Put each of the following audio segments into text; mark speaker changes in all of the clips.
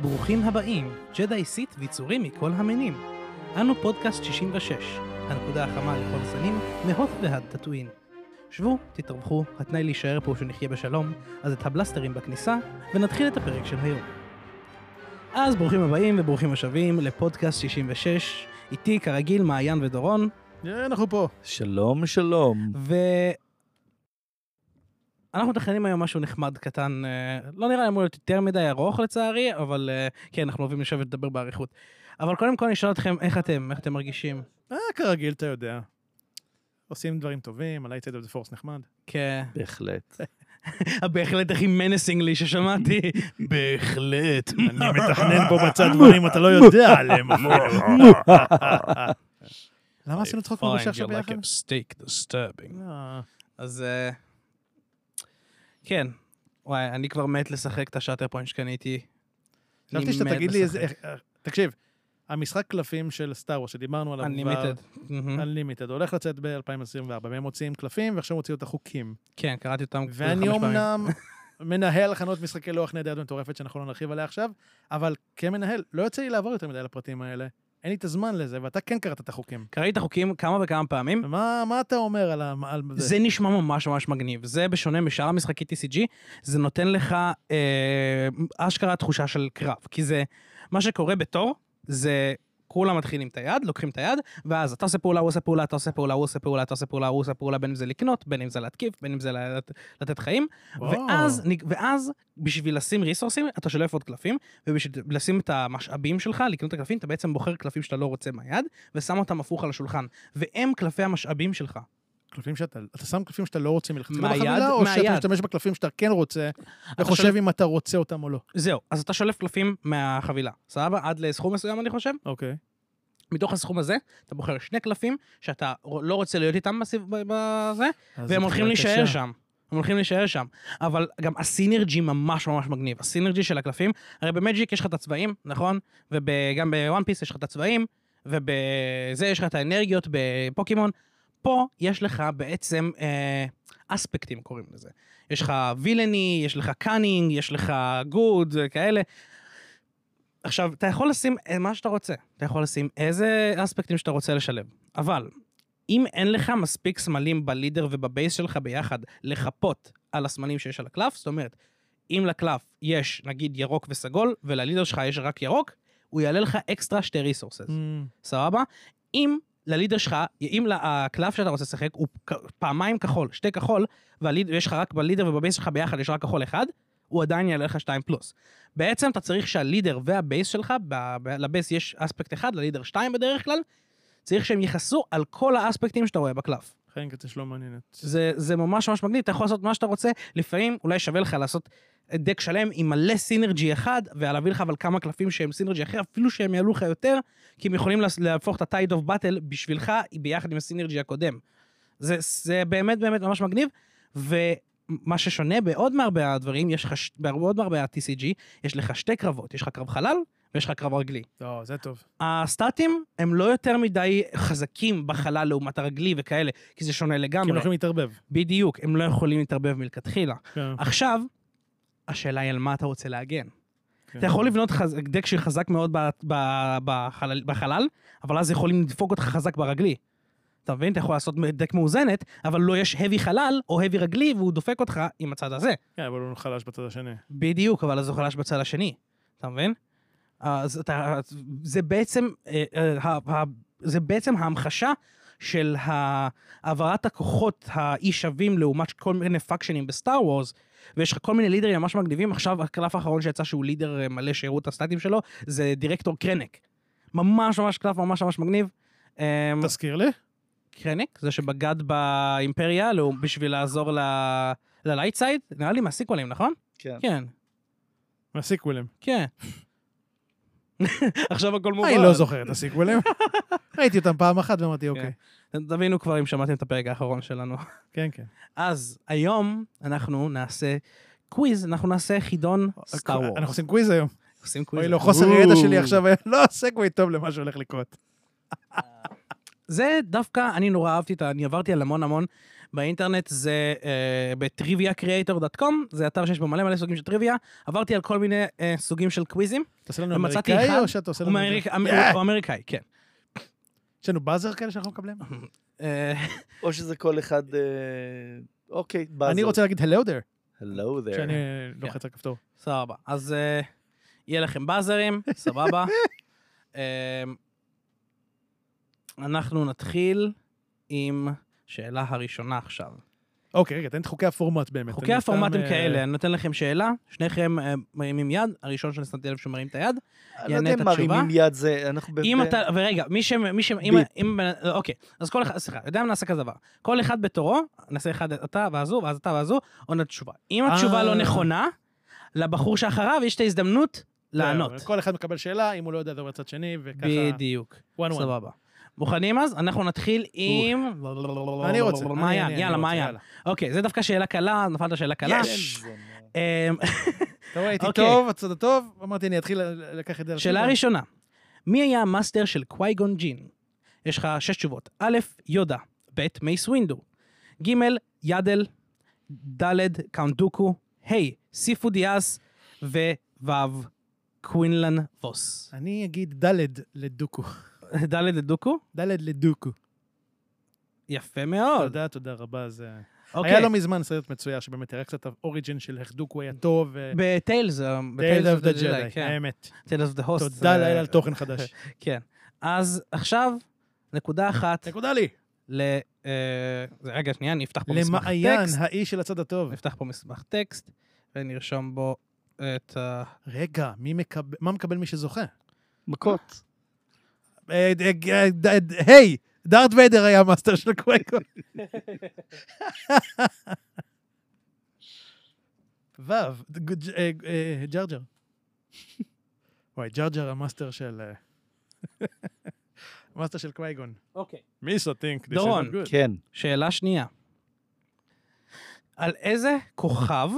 Speaker 1: ברוכים הבאים, ג'די סית ויצורים מכל המינים. אנו פודקאסט 66, הנקודה החמה לכל הסנים, מהות ועד תטואין. שבו, תתרווחו, התנאי להישאר פה שנחיה בשלום, אז את הבלסטרים בכניסה, ונתחיל את הפרק של היום. אז ברוכים הבאים וברוכים השבים לפודקאסט 66, איתי כרגיל מעיין ודורון,
Speaker 2: אה, אנחנו פה.
Speaker 3: שלום, שלום.
Speaker 1: ואנחנו מתכננים היום משהו נחמד קטן, אה, לא נראה לי אמור להיות יותר מדי ארוך לצערי, אבל אה, כן, אנחנו אוהבים לשבת לדבר באריכות. אבל קודם כל אני אשאל אתכם, איך אתם? איך אתם מרגישים?
Speaker 2: אה, כרגיל, אתה יודע. עושים דברים טובים, עלי צד אוף דה פורס נחמד.
Speaker 1: כן.
Speaker 3: בהחלט.
Speaker 2: אה,
Speaker 1: בהחלט הכי מנסינגלי ששמעתי. בהחלט.
Speaker 2: אני מתכנן פה בצד דברים, אתה לא יודע עליהם. למה עשינו צחוק מרושע עכשיו ביחד? אה,
Speaker 1: אז אה, כן. וואי, אני כבר מת לשחק את השאטר פוינט שקניתי. אני
Speaker 2: חשבתי שאתה
Speaker 1: מת
Speaker 2: תגיד לי איזה...
Speaker 1: לשחק.
Speaker 2: איך- אה, תקשיב, המשחק קלפים של סטאר וורס שדיברנו עליו
Speaker 1: Unlimited. מהמם.
Speaker 2: Unlimited, הולך לצאת ב-2024, והם מוציאים קלפים ועכשיו הוציאו את החוקים.
Speaker 1: כן, קראתי אותם כבר חמש
Speaker 2: ואני
Speaker 1: פעמים.
Speaker 2: אומנם מנהל חנות משחקי לוח נהדרת מטורפת שאנחנו לא נרחיב עליה עכשיו, אבל כמנהל, לא יוצא לי לעבור יותר מדי על הפרטים האלה. אין לי את הזמן לזה, ואתה כן קראת את החוקים.
Speaker 1: קראתי את החוקים כמה וכמה פעמים.
Speaker 2: מה, מה אתה אומר על, ה, על זה?
Speaker 1: זה נשמע ממש ממש מגניב. זה בשונה משאר המשחקי TCG, זה נותן לך אה, אשכרה תחושה של קרב. כי זה, מה שקורה בתור, זה כולם מתחילים את היד, לוקחים את היד, ואז אתה עושה פעולה, הוא עושה פעולה, אתה עושה פעולה, הוא עושה פעולה, אתה עושה פעולה, הוא עושה פעולה, בין אם זה לקנות, בין אם זה להתקיף, בין אם זה לת- לתת חיים.
Speaker 2: וואו.
Speaker 1: ואז, נג- ואז, בשביל לשים ריסורסים, אתה שולף עוד קלפים, ובשביל לשים את המשאבים שלך, לקנות את הקלפים, אתה בעצם בוחר קלפים שאתה לא רוצה מהיד, ושם אותם הפוך על השולחן. והם קלפי המשאבים שלך.
Speaker 2: קלפים שאתה, אתה שם קלפים שאתה לא רוצה מלכתחילה
Speaker 1: מהיד?
Speaker 2: בחבילה, או
Speaker 1: מהיד.
Speaker 2: שאתה משתמש בקלפים שאתה כן רוצה,
Speaker 1: אתה
Speaker 2: וחושב אם אתה רוצה אותם או לא.
Speaker 1: זהו, אז אתה שולף קלפים מהחבילה, סבבה? עד לסכום מסוים אני חושב.
Speaker 2: אוקיי.
Speaker 1: מתוך הסכום הזה, אתה בוחר שני קלפים שאתה ר- לא רוצה להיות איתם בסיב- ב- בזה, והם הולכים להישאר שם. הם הולכים להישאר שם. אבל גם הסינרג'י ממש ממש מגניב. הסינרג'י של הקלפים, הרי במג'יק יש לך את הצבעים, נכון? וגם בוואן פיס יש לך את הצבעים, ובזה יש לך את האנרגיות בפוקימון. פה יש לך בעצם אה, אספקטים קוראים לזה. יש לך וילני, יש לך קאנינג, יש לך גוד, כאלה. עכשיו, אתה יכול לשים אה, מה שאתה רוצה. אתה יכול לשים איזה אספקטים שאתה רוצה לשלב. אבל, אם אין לך מספיק סמלים בלידר ובבייס שלך ביחד לחפות על הסמלים שיש על הקלף, זאת אומרת, אם לקלף יש נגיד ירוק וסגול, וללידר שלך יש רק ירוק, הוא יעלה לך אקסטרה שתי
Speaker 2: Mm,
Speaker 1: ריסורסס. סבבה? אם ללידר שלך, אם הקלף שאתה רוצה לשחק הוא כ- פעמיים כחול, שתי כחול, והליד- ויש לך רק בלידר ובבייס שלך ביחד יש רק כחול אחד, הוא עדיין יעלה לך שתיים פלוס. בעצם אתה צריך שהלידר והבייס שלך, ב- ב- לבייס יש אספקט אחד, ללידר שתיים בדרך כלל, צריך שהם יכסו על כל האספקטים שאתה רואה בקלף.
Speaker 2: חיים קצת לא מעניינת.
Speaker 1: זה, זה ממש ממש מגניב, אתה יכול לעשות מה שאתה רוצה, לפעמים אולי שווה לך לעשות דק שלם עם מלא סינרג'י אחד, ולהביא לך אבל כמה קלפים שהם סינרג'י אחר, אפילו שהם יעלו לך יותר, כי הם יכולים להס- להפוך את ה-tide of battle בשבילך ביחד עם הסינרג'י הקודם. זה, זה באמת באמת ממש מגניב, ומה ששונה בעוד מהרבה הדברים, יש לך, ש- בעוד מהרבה ה-TCG, יש לך שתי קרבות, יש לך קרב חלל ויש לך קרב רגלי.
Speaker 2: לא, זה טוב.
Speaker 1: הסטטים הם לא יותר מדי חזקים בחלל לעומת הרגלי וכאלה, כי זה שונה
Speaker 2: כי הם לא
Speaker 1: לגמרי.
Speaker 2: הולכים להתערבב.
Speaker 1: בדיוק, הם לא יכולים להתערבב מלכתחילה.
Speaker 2: כן.
Speaker 1: עכשיו, השאלה היא על מה אתה רוצה להגן.
Speaker 2: כן.
Speaker 1: אתה יכול לבנות חז... דק שחזק מאוד ב... ב... בחלל... בחלל, אבל אז יכולים לדפוק אותך חזק ברגלי. אתה מבין? אתה יכול לעשות דק מאוזנת, אבל לא יש heavy חלל או heavy רגלי, והוא דופק אותך עם הצד הזה.
Speaker 2: כן, אבל הוא חלש בצד השני.
Speaker 1: בדיוק, אבל אז הוא חלש בצד השני, אתה מבין? אז אתה, זה בעצם, אה, אה, ה- ה- זה בעצם ההמחשה של ה- העברת הכוחות האי שווים לעומת כל מיני פאקשנים בסטאר וורס, ויש לך כל מיני לידרים ממש מגניבים, עכשיו הקלף האחרון שיצא שהוא לידר אה, מלא שהראו את הסטטים שלו, זה דירקטור קרנק. ממש ממש קלף ממש ממש מגניב. אה,
Speaker 2: תזכיר לי?
Speaker 1: קרניק, זה שבגד באימפריה לא, בשביל לעזור ל- ללייטסייד, נראה לי מהסיקוולים, נכון?
Speaker 3: כן.
Speaker 1: כן.
Speaker 2: מהסיקווילים.
Speaker 1: כן. עכשיו הכל מובן.
Speaker 2: אני לא זוכר את הסיקווילים. ראיתי אותם פעם אחת
Speaker 1: כן.
Speaker 2: ואמרתי, אוקיי.
Speaker 1: תבינו כבר אם שמעתם את הפרק האחרון שלנו.
Speaker 2: כן, כן.
Speaker 1: אז היום אנחנו נעשה קוויז, אנחנו נעשה חידון סטאר וורס.
Speaker 2: אוקיי, אה, אנחנו עושים קוויז היום.
Speaker 1: עושים קוויז.
Speaker 2: אוי, לא, חוסר
Speaker 3: וואו.
Speaker 2: הידע שלי עכשיו היה לא סגווי טוב למה שהולך לקרות.
Speaker 1: זה דווקא, אני נורא אהבתי את ה... אני עברתי על המון המון, באינטרנט זה אה, ב-triviacreator.com, זה אתר שיש בו מלא מלא סוגים של טריוויה. עברתי על כל מיני אה, סוגים של קוויזים.
Speaker 2: תעשה לנו
Speaker 1: ומצאתי
Speaker 2: אמריקאי
Speaker 1: אחד,
Speaker 2: או שאתה עושה
Speaker 1: הוא
Speaker 2: לנו...
Speaker 1: מאמריק-
Speaker 2: אה.
Speaker 1: הוא אמריקאי, כן.
Speaker 2: יש לנו באזר כאלה שאנחנו מקבלים?
Speaker 1: אה,
Speaker 3: או שזה כל אחד... אה, אוקיי, באזר.
Speaker 2: אני רוצה להגיד hello there,
Speaker 3: Hello there.
Speaker 2: כשאני לוחץ על כפתור.
Speaker 1: סבבה. אז אה, יהיה לכם באזרים, סבבה. אה, אנחנו נתחיל עם שאלה הראשונה עכשיו.
Speaker 2: אוקיי, רגע, תן את חוקי הפורמט באמת.
Speaker 1: חוקי
Speaker 2: אני
Speaker 1: הפורמט
Speaker 2: סתם,
Speaker 1: הם
Speaker 2: אה,
Speaker 1: כאלה, אני נותן לכם שאלה, שניכם אה, מרימים יד, הראשון ששמתי לב שמרים את היד.
Speaker 3: אני לא יודע
Speaker 1: יענה את
Speaker 3: אם מרימים
Speaker 1: התשובה.
Speaker 3: יד זה, אנחנו... ב-
Speaker 1: אם
Speaker 3: ב-
Speaker 1: אתה, ורגע, מי ש... מי ש... אם...
Speaker 3: ביפ.
Speaker 1: אם... לא, אוקיי, אז כל אחד, סליחה, יודע מה נעשה כזה דבר. כל אחד בתורו, נעשה אחד אתה ואז הוא, ואז אתה ואז הוא, עונה תשובה. אם
Speaker 2: אה.
Speaker 1: התשובה לא נכונה, לבחור שאחריו יש את ההזדמנות
Speaker 2: זהו,
Speaker 1: לענות.
Speaker 2: כל אחד מקבל שאלה, אם הוא לא יודע זה בצד שני, וככה...
Speaker 1: בדיוק.
Speaker 2: one one.
Speaker 1: סבבה. מוכנים אז? אנחנו נתחיל עם...
Speaker 2: אני רוצה. אני-
Speaker 1: מעיין,
Speaker 2: אני- אני
Speaker 1: יאללה,
Speaker 2: רוצה,
Speaker 1: מעיין. אוקיי, זה דאפקה שאלה קלה, אז נפלת שאלה קלה.
Speaker 3: יש.
Speaker 1: אמ,
Speaker 2: אתה רואה, הייתי
Speaker 1: אוקיי.
Speaker 2: טוב, הצד הטוב, אמרתי, אני אתחיל ל- לקח את זה. על
Speaker 1: שאלה
Speaker 2: עצמי.
Speaker 1: ראשונה, מי היה המאסטר של קווייגון ג'ין? יש לך שש תשובות. א', יודה, ב', מייס ווינדו, ג', יאדל, ד', קאונט דוקו, ה', סיפו דיאס, וו', קווינלן ווס.
Speaker 2: אני אגיד ד' לדוקו.
Speaker 1: ד' דוקו?
Speaker 2: ד' לדוקו.
Speaker 1: יפה מאוד.
Speaker 2: אה, תודה, תודה רבה. זה... היה
Speaker 1: אוקיי,
Speaker 2: לא מזמן סרט מצויר, שבאמת הראה קצת האוריג'ין של איך דוקו היה טוב. ו-
Speaker 1: בטיילס,
Speaker 2: Tales
Speaker 1: בטיילס
Speaker 2: of the Jedi, כן. האמת.
Speaker 1: טיילס כן. אוף דה הוסט. אה,
Speaker 2: תודה לאל על תוכן חדש.
Speaker 1: כן. אז עכשיו, נקודה אחת
Speaker 2: נקודה לי.
Speaker 1: ל... אה, רגע, שנייה, אני אפתח פה מסמך טקסט.
Speaker 2: למעיין, האיש של הצד הטוב.
Speaker 1: נפתח פה מסמך טקסט, ונרשום בו את ה...
Speaker 2: רגע, מי מקב- מה מקבל מי שזוכה?
Speaker 3: מכות.
Speaker 2: אה, אה, אה, אה, אה, היי, דארט ויידר היה המאסטר של קוויקו. וו, גוד- אה, אה, ג'ר ג'ר. וואי, ג'ר ג'ר המאסטר של... אה, המאסטר של קווייגון.
Speaker 1: אוקיי.
Speaker 2: מיסו טינק,
Speaker 1: is דורון. not
Speaker 3: כן.
Speaker 1: שאלה שנייה. על איזה כוכב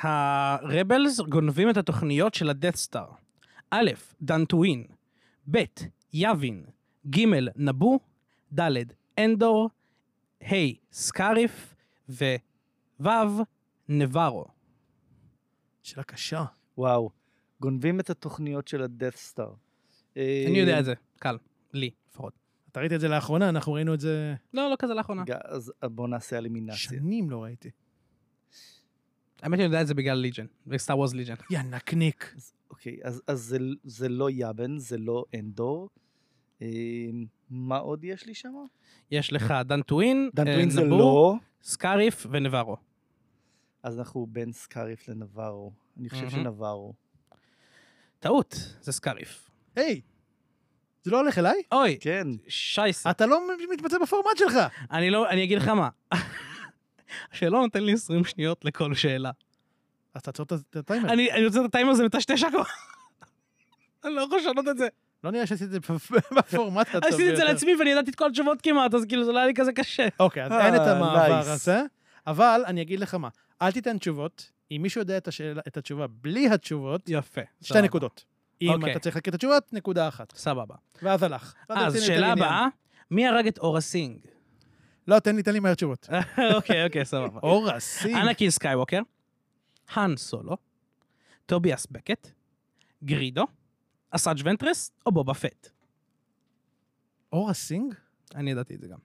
Speaker 1: הרבלס גונבים את התוכניות של הדאט סטאר? א', דנטואין, ב', יאבין, ג', נבו, ד', אנדור, ה', סקאריף, וו', נברו.
Speaker 2: שאלה קשה.
Speaker 3: וואו. גונבים את התוכניות של ה-Death Star. אה,
Speaker 1: אני יודע את זה, קל, לי לפחות.
Speaker 2: אתה ראית את זה לאחרונה, אנחנו ראינו את זה
Speaker 1: לא, לא כזה לאחרונה.
Speaker 3: אז בואו נעשה אלימינציה.
Speaker 2: שנים לא ראיתי.
Speaker 1: האמת שאני יודע את זה בגלל ליג'ן, בסטאר וורז ליג'ן.
Speaker 2: יא נקניק.
Speaker 3: אז- אוקיי, אז, אז זה, זה לא יאבן, זה לא אנדור. אה, מה עוד יש לי שם?
Speaker 1: יש לך דנטואין,
Speaker 3: דנטווין
Speaker 1: אה,
Speaker 3: זה
Speaker 1: נבור,
Speaker 3: לא,
Speaker 1: סקאריף ונברו.
Speaker 3: אז אנחנו בין סקאריף לנברו. אני חושב
Speaker 1: מהמם.
Speaker 3: שנברו.
Speaker 1: טעות, זה סקאריף.
Speaker 2: היי, זה לא הולך אליי?
Speaker 1: אוי,
Speaker 3: כן,
Speaker 1: שייסה.
Speaker 2: אתה לא מתמצא בפורמט שלך.
Speaker 1: אני לא, אני אגיד לך מה. השאלון נותן לי 20 שניות לכל שאלה.
Speaker 2: אז תעצור את ה- את הטיימר.
Speaker 1: אני אני רוצה את הטיימר הזה מטשטש הכל. אני לא יכול לשנות את זה.
Speaker 2: לא נראה שעשיתי את זה בפ- בפורמט הטוב ביותר.
Speaker 1: עשיתי את זה לעצמי ואני ידעתי את כל התשובות כמעט, אז כאילו זה לא היה לי כזה קשה.
Speaker 2: אוקיי, אז אין את
Speaker 3: אה,
Speaker 2: המעבר
Speaker 3: nice.
Speaker 2: הזה, אבל אני אגיד לך מה, אל תיתן תשובות, אם מישהו יודע את השאלה- את התשובה בלי התשובות,
Speaker 1: יפה.
Speaker 2: שתי
Speaker 1: סבבה.
Speaker 2: נקודות. אם
Speaker 1: אוקיי.
Speaker 2: אתה צריך להכיר את התשובות, נקודה אחת.
Speaker 1: סבבה.
Speaker 2: ואז הלך. ואז
Speaker 1: אה, אז
Speaker 2: תן לי את
Speaker 1: שאלה
Speaker 2: העניין.
Speaker 1: הבאה, מי הרג את אורה סינג?
Speaker 2: לא, תן לי, תן לי מהר תשובות.
Speaker 1: אוקיי, אוקיי, סבבה.
Speaker 2: אורה, סי.
Speaker 1: אנקין סקייווקר, האן סולו, טוביאס בקט, גרידו, אסאג' ונטרס או בובה פט.
Speaker 2: אורה סינג?
Speaker 1: אני ידעתי את זה גם.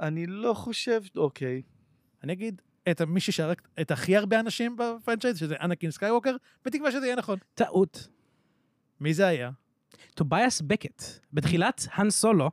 Speaker 3: אני לא חושב, אוקיי.
Speaker 2: אני אגיד את מישהי שהרג את הכי הרבה אנשים בפרנצ'ייז, שזה אנקין סקייווקר, בתקווה שזה יהיה נכון.
Speaker 1: טעות.
Speaker 2: מי זה היה?
Speaker 1: טוביאס בקט, בתחילת האן סולו,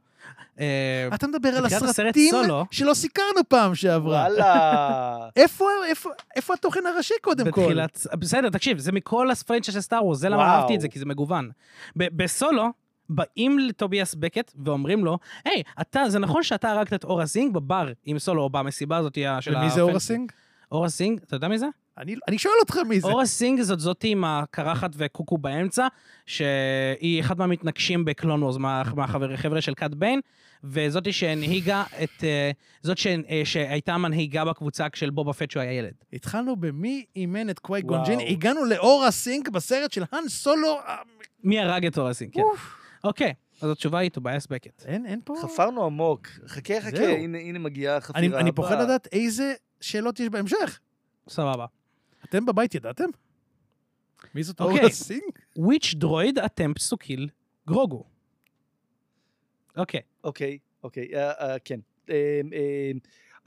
Speaker 1: אה,
Speaker 2: אתה מדבר על
Speaker 1: בתחילת הסרט
Speaker 2: הסרטים
Speaker 1: סולו-
Speaker 2: שלא סיקרנו פעם שעברה.
Speaker 3: וואלה.
Speaker 2: איפה, איפה, איפה התוכן הראשי קודם כל?
Speaker 1: בתחילת... בסדר, תקשיב, זה מכל הפרנצ'ה של סטאר וורס, זה למה
Speaker 3: וואו.
Speaker 1: אהבתי את זה, כי זה מגוון. ב- בסולו, באים לטוביאס בקט ואומרים לו, היי, אתה, זה נכון שאתה הרגת את אורה סינג בבר עם סולו, או במסיבה הזאת ה- של
Speaker 2: ומי זה אורה
Speaker 1: הפרנצ'ה."
Speaker 2: סינג?
Speaker 1: אורה סינג, אתה יודע מי זה?
Speaker 2: אני, אני שואל אותך מי זה.
Speaker 1: אורה סינג זאת זאתי עם הקרחת וקוקו באמצע, שהיא אחת מהמתנגשים בקלון וורז, מה- מהחבר- חבר'ה של קאט ביין, וזאתי שהנהיגה את... אה, זאת שהנ- אה, שהייתה מנהיגה בקבוצה של בובה פט שהוא היה ילד.
Speaker 2: התחלנו במי אימן את קוואי גונג'ין,
Speaker 3: וואו.
Speaker 2: הגענו לאורה סינג בסרט של האן סולו. אה,
Speaker 1: מי הרג את אורה סינג, כן. אוקיי, אז התשובה היא טובייס בקט.
Speaker 2: אין, אין פה...
Speaker 3: חפרנו עמוק. חכה, חכה,
Speaker 2: זהו.
Speaker 3: הנה, הנה מגיעה החפירה
Speaker 2: אני, אני פוחד
Speaker 3: הבאה.
Speaker 2: לדעת איזה שאלות יש בהמשך.
Speaker 1: סבבה.
Speaker 2: אתם בבית ידעתם? מי זאת
Speaker 1: אוקיי.
Speaker 2: אורה סינג?
Speaker 1: which droid attempts to kill גרוגו? אוקיי,
Speaker 3: אוקיי, אוקיי, אה, אה, כן. אה, אה,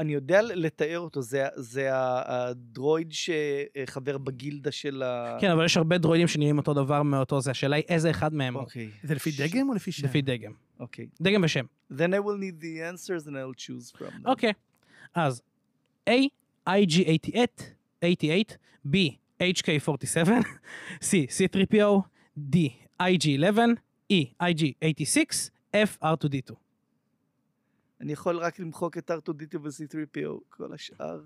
Speaker 3: אני יודע לתאר אותו, זה, ה- זה ה- הדרויד שחבר בגילדה של ה...
Speaker 1: כן, אבל יש הרבה דרוידים שנראים אותו דבר מאותו זה, השאלה היא איזה אחד מהם הוא,
Speaker 3: אוקיי.
Speaker 2: זה לפי
Speaker 3: ש-
Speaker 2: דגם או לפי שם?
Speaker 1: לפי דגם.
Speaker 3: אוקיי.
Speaker 1: דגם ושם.
Speaker 3: Then I will need the answers and I'll choose from them.
Speaker 1: אוקיי. אז A, IG-88, 88, B, HK-47, C, C3PO, D, IG-11, E, IG-86, F, R2D2.
Speaker 3: אני יכול רק למחוק את R2D2 ו-C3PO, כל השאר.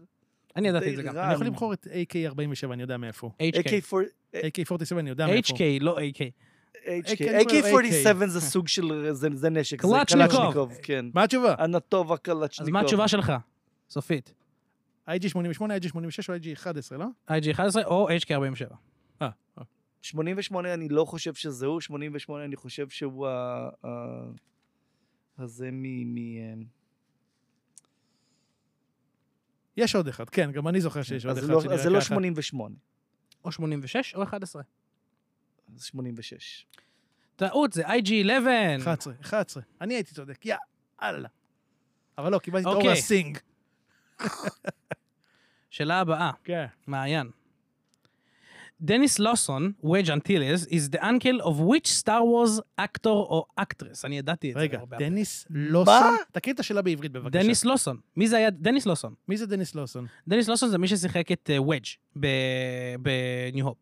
Speaker 1: אני ידעתי את זה גם.
Speaker 3: די רע.
Speaker 2: אני יכול לבחור את AK-47, אני יודע מאיפה הוא.
Speaker 1: HK.
Speaker 3: AK4-
Speaker 2: AK-47, אני יודע מאיפה
Speaker 1: HK,
Speaker 2: הוא.
Speaker 1: לא AK.
Speaker 3: HK.
Speaker 2: AK-
Speaker 3: AK-47 זה סוג של, זה זה נשק, זה
Speaker 1: קלצ'ניקוב.
Speaker 3: כן.
Speaker 2: מה התשובה?
Speaker 3: אנטובה קלצ'ניקוב.
Speaker 1: אז מה התשובה שלך? סופית.
Speaker 2: IG-88, IG-86 או IG-11, לא?
Speaker 1: IG-11 או HK-47.
Speaker 2: אה,
Speaker 3: 88 אני לא חושב שזה הוא, 88 אני חושב שהוא ה... ה- הזה מ... מ- אמ,
Speaker 2: יש עוד אחד, כן, גם אני זוכר שיש עוד
Speaker 3: אז
Speaker 2: אחד
Speaker 3: לא-
Speaker 2: שנראה
Speaker 3: אז זה לא
Speaker 2: ככה.
Speaker 3: 88,
Speaker 1: או 86 או 11.
Speaker 3: אז 86.
Speaker 1: טעות, זה IG-11.
Speaker 2: 11, 11. אני הייתי צודק, יא אללה. אבל לא, קיבלתי את
Speaker 1: אוקיי.
Speaker 2: אורה סינג.
Speaker 1: שאלה הבאה.
Speaker 2: כן.
Speaker 1: מעיין. דניס לוסון, וג' אנטילס, is the uncle of which Star Wars actor או actress. אני ידעתי את זה.
Speaker 2: רגע,
Speaker 1: הרבה.
Speaker 2: דניס לוסון? תקריא את השאלה בעברית בבקשה.
Speaker 1: דניס לוסון. מי זה היה? דניס לוסון.
Speaker 2: מי זה דניס לוסון?
Speaker 1: דניס לוסון זה מי ששיחק את אה, וג' בניו הופ.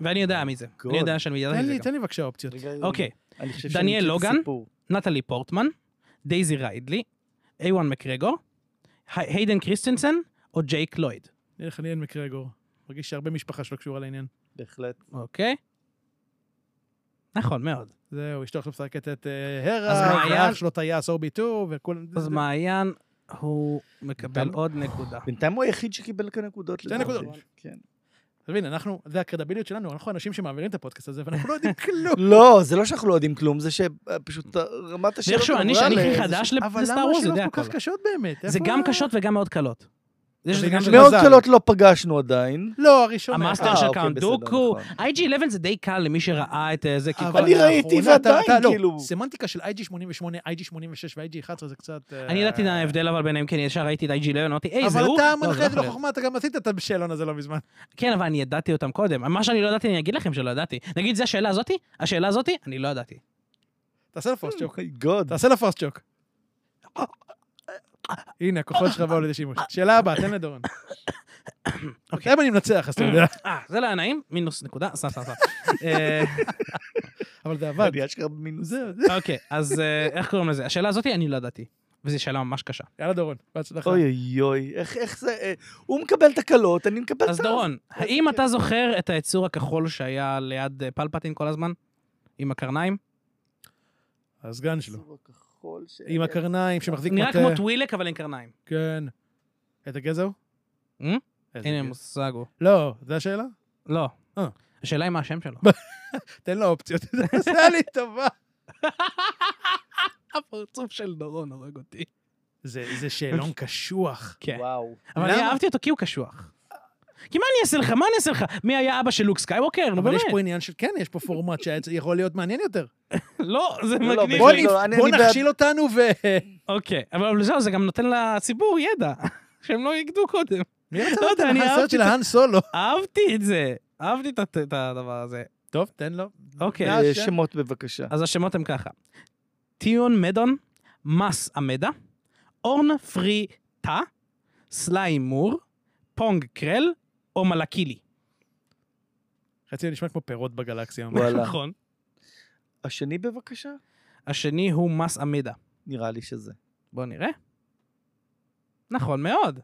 Speaker 1: ואני יודע מי זה.
Speaker 3: God.
Speaker 1: אני יודע שאני ידעתי
Speaker 2: Oh תן
Speaker 1: את זה
Speaker 2: לי,
Speaker 1: גם.
Speaker 2: תן לי בבקשה אופציות.
Speaker 3: רגע, רגע,
Speaker 1: אוקיי,
Speaker 3: אני חושב שאני
Speaker 1: דניאל
Speaker 3: מכיר את
Speaker 1: לוגן?
Speaker 3: הסיפור.
Speaker 1: נטלי פורטמן, דייזי ריידלי, איוון מקרגור, הי- היידן קריסטנסן או ג'ייק לויד.
Speaker 2: נלך ליאן מקרגור. מרגיש שהרבה משפחה שלא קשורה לעניין.
Speaker 3: בהחלט.
Speaker 1: אוקיי? נכון מאוד.
Speaker 2: זהו, אשתו עכשיו משחקת את אה, הרה,
Speaker 1: אז מה היה?
Speaker 2: ואח שלו טייס אורביטו, וכולם...
Speaker 1: אז מעיין, הוא מקבל
Speaker 3: בינתיים-
Speaker 1: עוד נקודה.
Speaker 3: בינתיים הוא היחיד שקיבל כאן נקודות.
Speaker 2: שתי
Speaker 3: לדעתי.
Speaker 2: נקודות.
Speaker 3: כן.
Speaker 2: תבין, אנחנו, זה הקרדביליות שלנו, אנחנו אנשים שמעבירים את הפודקאסט הזה, ואנחנו לא יודעים כלום.
Speaker 3: לא, זה לא שאנחנו לא יודעים כלום, זה שפשוט רמת לא השאלות...
Speaker 1: ואיכשהו אני,
Speaker 3: עברה
Speaker 1: שאני
Speaker 3: לאיזשהו-
Speaker 1: הכי חדש
Speaker 2: אבל
Speaker 1: לסטאר
Speaker 2: למה
Speaker 1: וורס,
Speaker 2: השאלות
Speaker 1: יודע
Speaker 2: כל
Speaker 1: הכל.
Speaker 2: כך קשות באמת?
Speaker 1: זה
Speaker 2: איפה-
Speaker 1: גם קשות וגם מאוד קלות. זה שזה
Speaker 2: עניין
Speaker 1: גם
Speaker 2: של
Speaker 1: מאוד-
Speaker 3: מאוד
Speaker 2: מזל.
Speaker 3: קלות לא פגשנו עדיין.
Speaker 2: לא, הראשון...
Speaker 1: המאסטר
Speaker 3: אה,
Speaker 1: של
Speaker 3: אוקיי,
Speaker 1: קאונט
Speaker 3: בסדר,
Speaker 1: דוקו,
Speaker 3: נכון.
Speaker 1: IG-11 זה די קל למי שראה את אה, זה, כי כל...
Speaker 2: אבל
Speaker 3: אני
Speaker 2: לאחרונה
Speaker 3: ראיתי
Speaker 2: אתה-
Speaker 3: ועדיין,
Speaker 2: אתה- לא,
Speaker 3: כאילו-
Speaker 2: סמנטיקה של IG-88, IG-86 ו-IG-11 זה קצת... אה,
Speaker 1: אני ידעתי את ההבדל אבל ביניהם, כי אני ישר ראיתי את IG-11, אמרתי, היי, זה
Speaker 2: אבל
Speaker 1: הוא?
Speaker 2: אתה
Speaker 1: לא,
Speaker 2: מנחה
Speaker 1: לא
Speaker 2: את זה
Speaker 1: יכול להיות.
Speaker 2: בחוכמה, אתה גם עשית את השאלון הזה לא מזמן.
Speaker 1: כן, אבל אני ידעתי אותם קודם. מה שאני לא ידעתי, אני אגיד לכם שלא ידעתי. נגיד, זה השאלה הזאתי, השאלה הזאתי, אני לא ידעתי.
Speaker 2: תעשה לה
Speaker 1: Mm.
Speaker 3: Hmm. Oh
Speaker 2: פוסט שוק.
Speaker 3: גוד.
Speaker 2: תעשה לה פוסט שוק. הנה, הכוחות שלך באו לידי שימוש. שאלה הבאה, תן לדורון.
Speaker 1: אוקיי.
Speaker 2: למה אני מנצח, אז אתה יודע.
Speaker 1: אה, זה לא היה נעים? מינוס נקודה, סתם, סתם, סתם. אה,
Speaker 2: אבל זה עבד.
Speaker 3: אני אשכרה במינוס.
Speaker 2: זהו, זה-
Speaker 1: אוקיי, אז אה, איך קוראים לזה? השאלה הזאתי, אני לא ידעתי. וזו שאלה ממש קשה.
Speaker 2: יאללה דורון, בהצלחה.
Speaker 3: אוי אוי אוי, איך- איך זה... אה, הוא מקבל תקלות, אני מקבל...
Speaker 1: אז
Speaker 3: את ה-
Speaker 1: דורון,
Speaker 3: איזה
Speaker 1: האם
Speaker 3: כיף.
Speaker 1: אתה זוכר את היצור הכחול שהיה ליד אה, פלפטין כל הזמן? עם הקרניים?
Speaker 2: הסגן שלו.
Speaker 3: הצור הכחול ש-
Speaker 2: עם הקרניים שמחזיק
Speaker 1: נראה
Speaker 2: מטה.
Speaker 1: כמו טווילק, אבל עם קרניים.
Speaker 2: כן. את הגזע הוא?
Speaker 1: אה?
Speaker 2: איזה
Speaker 1: אין לי
Speaker 2: גזע.
Speaker 1: מושג הוא.
Speaker 2: לא, זו השאלה?
Speaker 1: לא.
Speaker 2: אה.
Speaker 1: השאלה היא מה השם שלו.
Speaker 2: תן לו אופציות. זה היה לי טובה.
Speaker 1: הפרצוף של דורון הורג אותי.
Speaker 2: זה זה שאלון קשוח.
Speaker 1: כן.
Speaker 3: וואו.
Speaker 1: אבל
Speaker 2: למה?
Speaker 1: אני אהבתי אותו כי הוא קשוח. כי מה אני אעשה לך? מה אני אעשה לך? מי היה אבא של לוק סקייווקר? נו
Speaker 2: אבל
Speaker 1: באמת.
Speaker 2: יש פה עניין של, כן, יש פה פורמט שיכול להיות מעניין יותר.
Speaker 1: לא, זה
Speaker 3: לא,
Speaker 1: מגניב.
Speaker 2: בוא
Speaker 3: לא,
Speaker 1: לי.
Speaker 2: נפ-
Speaker 3: אני-
Speaker 2: בוא
Speaker 3: אני בעד-
Speaker 2: נכשיל אותנו ו...
Speaker 1: אוקיי, אבל זהו, זה גם נותן לציבור ידע. שהם לא יגדו קודם.
Speaker 2: מי רצה
Speaker 1: לא
Speaker 2: לדעת
Speaker 1: יודע,
Speaker 2: על
Speaker 1: אני
Speaker 2: הסרט
Speaker 1: אהבתי
Speaker 2: של
Speaker 1: את-
Speaker 2: האן סולו?
Speaker 1: אהבתי את זה. אהבתי את הת- את הדבר הזה.
Speaker 2: טוב, תן לו.
Speaker 1: אוקיי.
Speaker 2: מה
Speaker 3: אה,
Speaker 2: השם?
Speaker 3: שמות בבקשה.
Speaker 1: אז השמות הם ככה. טיון מדון, מס עמדה, אורן פרי טה, סליים מור, פונג קרל או מלקילי.
Speaker 2: חצי נשמע כמו פירות בגלקסיה. ממש.
Speaker 3: וואלה.
Speaker 1: נכון.
Speaker 3: השני בבקשה?
Speaker 1: השני הוא מס עמדה.
Speaker 3: נראה לי שזה.
Speaker 1: בואו נראה. נכון מאוד.